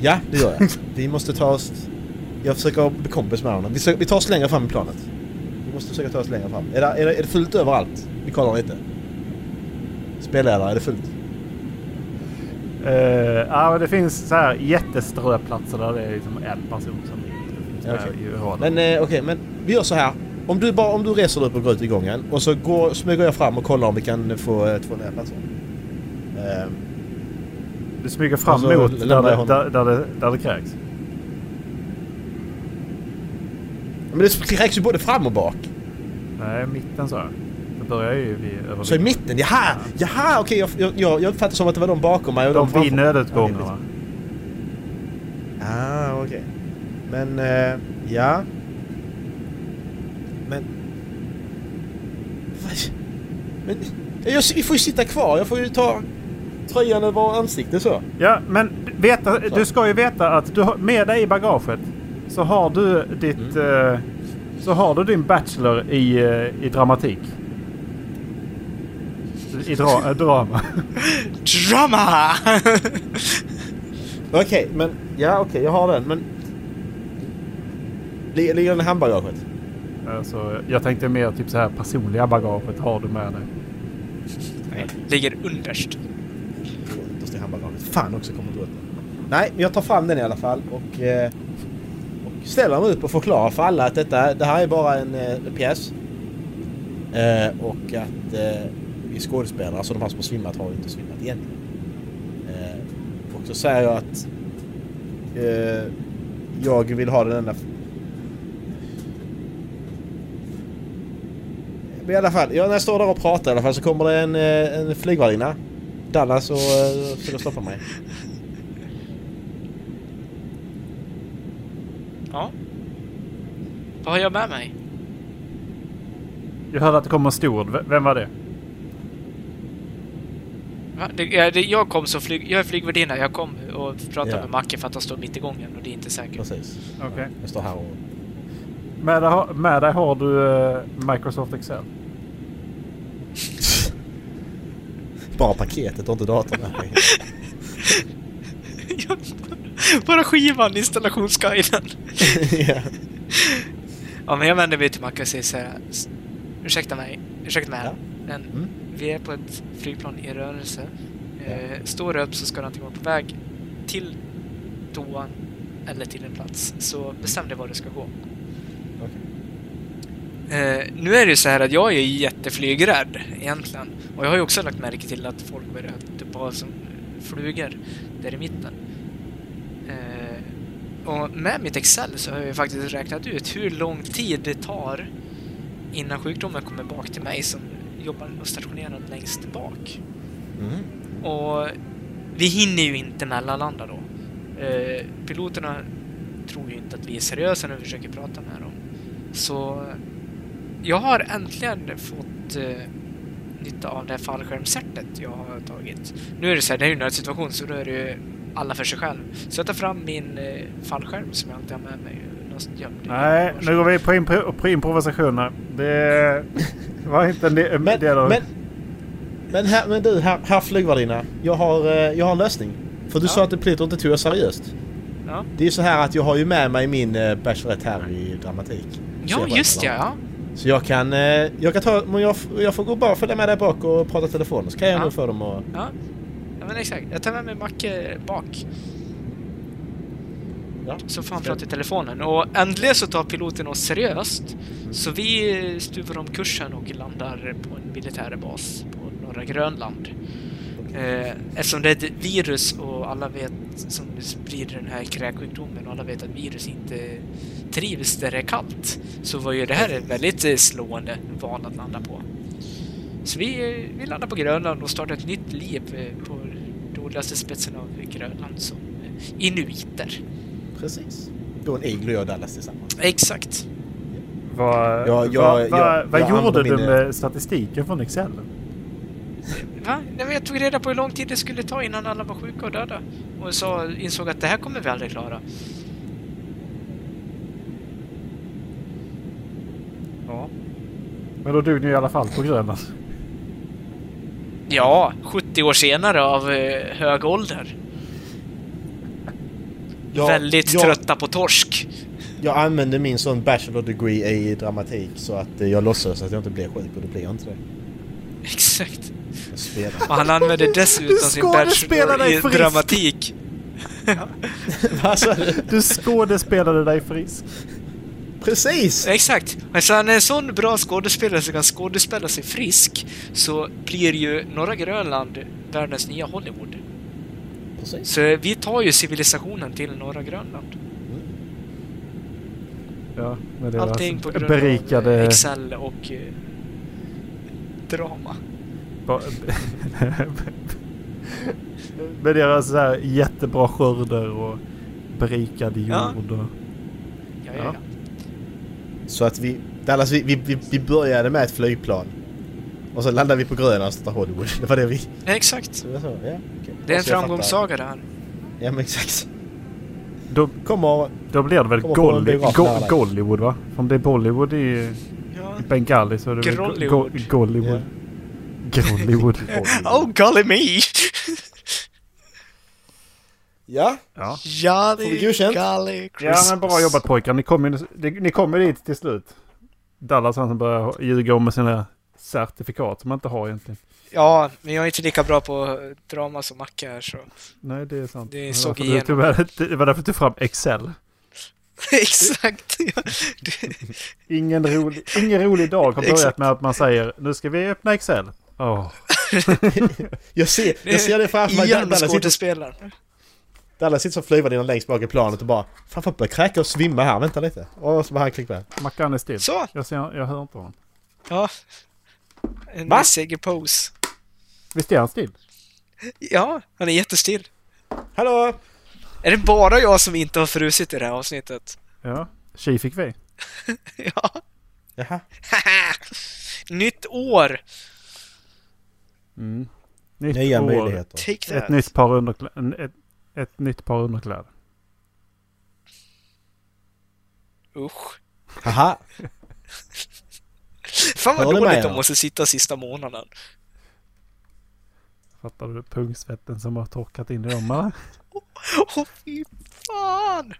Speaker 4: Ja, det gör jag. Vi måste ta oss... Jag försöker bli kompis med honom. Vi, sö- vi tar oss längre fram i planet. Vi måste försöka ta oss längre fram. Är det, är det, är det fullt överallt? Vi kollar lite. Spelledare, är det fullt?
Speaker 3: Eh, ja, men det finns så här jätteströplatser där det är liksom en person som finns
Speaker 4: Ja,
Speaker 3: med
Speaker 4: okej.
Speaker 3: i raden.
Speaker 4: Men eh, okej, men vi gör så här. Om du, bara, om du reser upp och går ut i gången och så går, smyger jag fram och kollar om vi kan få eh, två nya platser. Ehm,
Speaker 3: du smyger fram
Speaker 4: Alltså,
Speaker 3: mot där
Speaker 4: lämnar jag
Speaker 3: det,
Speaker 4: honom.
Speaker 3: där, där, det, där det kräks.
Speaker 4: men det kräks ju både fram och bak.
Speaker 3: Nej, mitten så här. Det börjar ju vid över
Speaker 4: Så i mitten, jaha! Jaha, okej jag, jag, jag, jag uppfattar som att det var de bakom mig och de,
Speaker 3: De vid
Speaker 4: framför mig. Ja,
Speaker 3: nödutgångarna.
Speaker 4: Ah, okej. Men, eh, ja. Men... Vad- Men, jag, vi får ju sitta kvar. Jag får ju ta tröjan över ansiktet så.
Speaker 3: Ja, men veta, du ska ju veta att du har, med dig i bagaget så har du ditt...
Speaker 4: Mm.
Speaker 3: eh, så har du din bachelor i, eh, i dramatik. I dra, eh, drama.
Speaker 5: Drama!
Speaker 4: Okej, men... Ja, okej. jag har den, men... Ligger ligger den i handbagaget?
Speaker 3: alltså, jag tänkte mer typ så här personliga bagaget har du med dig.
Speaker 5: Ligger underst.
Speaker 4: Ytterst i handbagaget. Fan också, kommer inte åt den. Nej, men jag tar fram den i alla fall och... Eh, och ställer mig upp och förklarar för alla att detta, det här är bara en eh, pjäs. Eh, och att eh, vi är skådespelare, så de här som har svimmat har ju inte svimmat egentligen. Eh, och så säger jag att... Eh, jag vill ha den enda... Men I alla fall, ja, när jag står där och pratar i alla fall så kommer det en, eh, en flygvärdinna. Dallas och eh, försöker stoppa mig.
Speaker 5: Ja. Vad har jag med mig?
Speaker 3: Jag hörde att det kom en stor. V- Vem var det?
Speaker 5: Va? Det, ja, det, jag kom som flyg... Jag är flygvärdinna. Jag kom och pratade
Speaker 4: Ja.
Speaker 5: med Macke för att han står mitt i gången och det är inte säkert.
Speaker 4: Precis.
Speaker 3: Okej.
Speaker 4: Jag står här och...
Speaker 3: Med dig, har- med dig har du eh, Microsoft Excel.
Speaker 4: Bara paketet och inte datorn. med mig.
Speaker 5: Jag- Bara skivan, installationsguiden.
Speaker 4: Ja.
Speaker 5: Ja, men jag vänder mig till Macke och säger så här. "S- Ursäkta mig. Ursäkta mig.
Speaker 4: Ja.
Speaker 5: Men
Speaker 4: Mm.
Speaker 5: vi är på ett flygplan i rörelse. Eh, står upp så ska du antingen vara på väg till toan eller till en plats. Så bestäm dig var du ska gå. Eh, nu är det ju så här att jag är ju jätteflygrädd egentligen. Och jag har ju också lagt märke till att folk börjar typ ha som flugor där i mitten. Eh, och med mitt Excel så har jag ju faktiskt räknat ut hur lång tid det tar innan sjukdomen kommer bak till mig som jobbar och stationerad längst bak.
Speaker 4: Mm.
Speaker 5: Och vi hinner ju inte mellanlanda då. Eh, piloterna tror ju inte att vi är seriösa när vi försöker prata med dem. Så jag har äntligen fått eh, nytta av det här fallskärmscertet jag har tagit. Nu är det så här, det är ju en nödsituation så då är det ju alla för sig själv. Så jag tar fram min eh, fallskärm som jag alltid har med mig. någonstans gömd i
Speaker 3: Nej, nu går vi på, impro- på improvisationer. Det var inte en del
Speaker 4: Men,
Speaker 3: del av...
Speaker 4: men, men, här, men du, herr, herr flygvärdinna. Jag har, eh, jag har en lösning. För du
Speaker 5: Ja.
Speaker 4: sa att Pluto inte tog jag seriöst.
Speaker 5: Ja.
Speaker 4: Det är ju så här att jag har ju med mig min eh, bachelorette här i dramatik. Så
Speaker 5: Ja,
Speaker 4: jag bara-
Speaker 5: just ja, ja.
Speaker 4: Så jag kan, eh, jag kan ta, men jag, f- jag får gå bara och följa med dig bak och prata telefon. Så kan jag
Speaker 5: Ja.
Speaker 4: nog få dem att...
Speaker 5: Ja, ja men exakt. Jag tar med mig Macke bak.
Speaker 4: Ja.
Speaker 5: Så får han prata i telefonen. Och äntligen så tar piloten oss seriöst. Så vi stuvar om kursen och landar på en militär bas på norra Grönland. Eh, eftersom det är ett virus och alla vet som sprider den här kräksjukdomen och alla vet att virus inte trivs där det är kallt. Så var ju det här ett väldigt eh, slående val att landa på. Så vi, eh, vi landar på Grönland och startar ett nytt liv eh, på nordligaste spetsen av Grönland som eh, inuiter.
Speaker 4: Precis. Då en iglo och Dallas tillsammans.
Speaker 5: Exakt.
Speaker 3: Vad,
Speaker 4: Ja, jag-
Speaker 3: vad,
Speaker 4: jag-
Speaker 3: vad, vad
Speaker 4: jag
Speaker 3: gjorde
Speaker 4: använder
Speaker 3: du
Speaker 4: min- eh,
Speaker 3: med statistiken från Excel?
Speaker 5: Va? Nej, men jag tog reda på hur lång tid det skulle ta innan alla var sjuka och döda. Och så insåg att det här kommer vi aldrig klara.
Speaker 3: Ja. Men då dog ni i alla fall på Grönland.
Speaker 5: Ja, 70 år senare av eh, hög ålder. Väldigt
Speaker 4: jag,
Speaker 5: trötta på torsk.
Speaker 4: Jag använder min sån bachelor degree i dramatik så att eh, jag låtsas att jag inte blir sjuk och det blir jag inte det.
Speaker 5: Exakt.
Speaker 4: Jag spelar.
Speaker 5: Och han använde dessutom sin bachelor
Speaker 3: skådespelare
Speaker 5: i
Speaker 3: är frisk.
Speaker 5: dramatik.
Speaker 4: Vad sa du?
Speaker 3: Du skådespelade dig frisk.
Speaker 4: Precis!
Speaker 5: Exakt! Alltså han är en sån bra skådespelare som kan skådespela sig frisk så blir ju norra Grönland världens nya Hollywood.
Speaker 4: Precis.
Speaker 5: Så vi tar ju civilisationen till norra Grönland.
Speaker 3: Ja, men det var
Speaker 5: Allting på
Speaker 3: alltså
Speaker 5: grund av eh,
Speaker 3: berikade...
Speaker 5: Excel och eh, drama.
Speaker 3: ba- med deras alltså så här jättebra skörder och berikad
Speaker 5: Ja.
Speaker 3: jord. Och,
Speaker 5: Ja,
Speaker 3: Ja.
Speaker 5: ja, ja.
Speaker 4: Så att vi... Dallas, vi, vi, vi, vi började med ett flygplan. Och så landade vi på Grönland och startade Hollywood. Det var det vi...
Speaker 5: Nej, exakt.
Speaker 4: Så det, var så, ja, okej.
Speaker 3: Alltså,
Speaker 4: Så
Speaker 5: Det är en
Speaker 4: jag fattar.
Speaker 5: framgångssaga det här.
Speaker 4: Ja men exakt.
Speaker 3: då,
Speaker 4: Kommer...
Speaker 3: då blir det väl
Speaker 4: Kommer på en
Speaker 3: Golly,
Speaker 4: biograf nära
Speaker 3: go,
Speaker 4: dig.
Speaker 3: Gollywood va? Om det är Bollywood i
Speaker 5: Ja.
Speaker 3: Bengali så är det väl go-
Speaker 5: Grollywood.
Speaker 3: go- Gollywood. Gollywood.
Speaker 5: Oh, golly me!
Speaker 4: Ja.
Speaker 3: Ja.
Speaker 4: Får
Speaker 5: Jolly,
Speaker 4: vi godkänt?
Speaker 5: golly
Speaker 3: Ja
Speaker 5: Christmas.
Speaker 3: men bra jobbat pojkar. Ni kommer ju- det- ni kommer dit till slut. Dallas han som börjar ljuga om sina certifikat som han inte har egentligen.
Speaker 5: Ja, men jag är inte lika bra på eh, drama som Macke här så...
Speaker 3: Nej det är sant.
Speaker 5: Det
Speaker 3: var
Speaker 5: såg
Speaker 3: därför du
Speaker 5: igenom.
Speaker 3: tog med- Det var därför du tog fram Excel.
Speaker 5: Exakt! Ja. Det-
Speaker 3: Ingen rolig, ingen rolig dag har börjat
Speaker 5: Exakt.
Speaker 3: med att man säger nu ska vi öppna Excel. Åh.
Speaker 4: Jag ser, jag ser det framför mig.
Speaker 5: Igen
Speaker 4: Dallas sitter,
Speaker 5: skådespelaren.
Speaker 4: Dallas sitter som flygvärdinnan längst bak i planet och bara Fan folk börjar kräka och svimma här, vänta lite. Och så bara han klickar.
Speaker 3: Mackan är still.
Speaker 5: Så!
Speaker 3: Jag, ser, jag hör inte honom.
Speaker 5: Ja. En
Speaker 4: Va?
Speaker 5: segerpose.
Speaker 3: Visst är han still?
Speaker 5: Ja, han är jättestill.
Speaker 4: Hallå!
Speaker 5: Är det bara jag som inte har frusit i det här avsnittet?
Speaker 3: Ja. Tji fick vi.
Speaker 5: Ja.
Speaker 4: Jaha.
Speaker 5: Nytt år!
Speaker 3: Nytt
Speaker 4: Nya
Speaker 3: år.
Speaker 4: möjligheter.
Speaker 5: Take that!
Speaker 3: Ett nytt par underkläder. Ett, ett nytt par underkläder.
Speaker 5: Usch.
Speaker 4: Haha!
Speaker 5: Fan vad
Speaker 4: Jag håller med
Speaker 5: dåligt
Speaker 4: er.
Speaker 5: de måste sitta sista månaden.
Speaker 3: Fattar du pungsvetten som har torkat in i dem eller?
Speaker 5: Åh fy fan!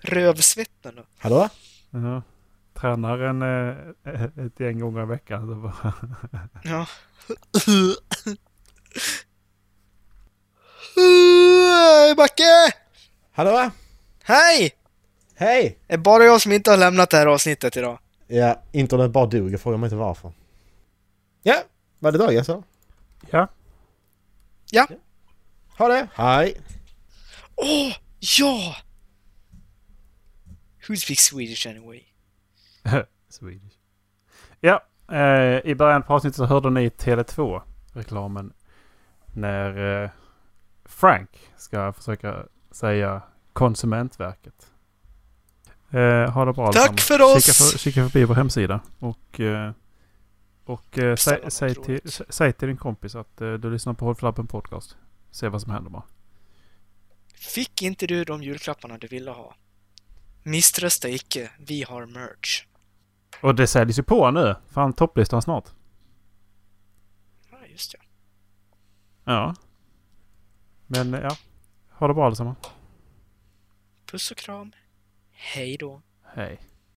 Speaker 5: Rövsvetten då.
Speaker 4: Hallå?
Speaker 3: Ja. tränar en, eh, ett gäng gånger i veckan. Så bara,
Speaker 5: Ja. Backe!
Speaker 4: Hallå?
Speaker 5: Hej!
Speaker 4: Hej!
Speaker 5: Är bara jag som inte har lämnat det här avsnittet idag?
Speaker 4: Ja, internet bara duger. Fråga mig inte varför. Ja, var det dagens då?
Speaker 3: ja,
Speaker 5: Ja.
Speaker 4: Ha det! Hej!
Speaker 5: Åh, ja! Who speaks Swedish anyway?
Speaker 3: Swedish. Ja, eh, i början på avsnittet så hörde ni Tele2 reklamen. När eh, Frank ska försöka säga Konsumentverket. Eh, ha det bra
Speaker 5: Tack
Speaker 3: allesammans.
Speaker 5: för oss!
Speaker 3: Kika, för, kika förbi vår hemsida och, eh, och eh,
Speaker 5: Beställa
Speaker 3: säg,
Speaker 5: något
Speaker 3: säg, till,
Speaker 5: roligt.
Speaker 3: sä- säg till din kompis att eh, du lyssnar på Håll Flabben Podcast. Se vad som händer bara.
Speaker 5: Fick inte du de julklapparna du ville ha? Misströsta icke, vi har merch.
Speaker 3: Och det säljs ju på nu. Fan, topplistan snart.
Speaker 5: Ja, just det.
Speaker 3: Ja. Men eh, ja. Ha det bra allesammans.
Speaker 5: Puss och kram. Hej då.
Speaker 3: Hej.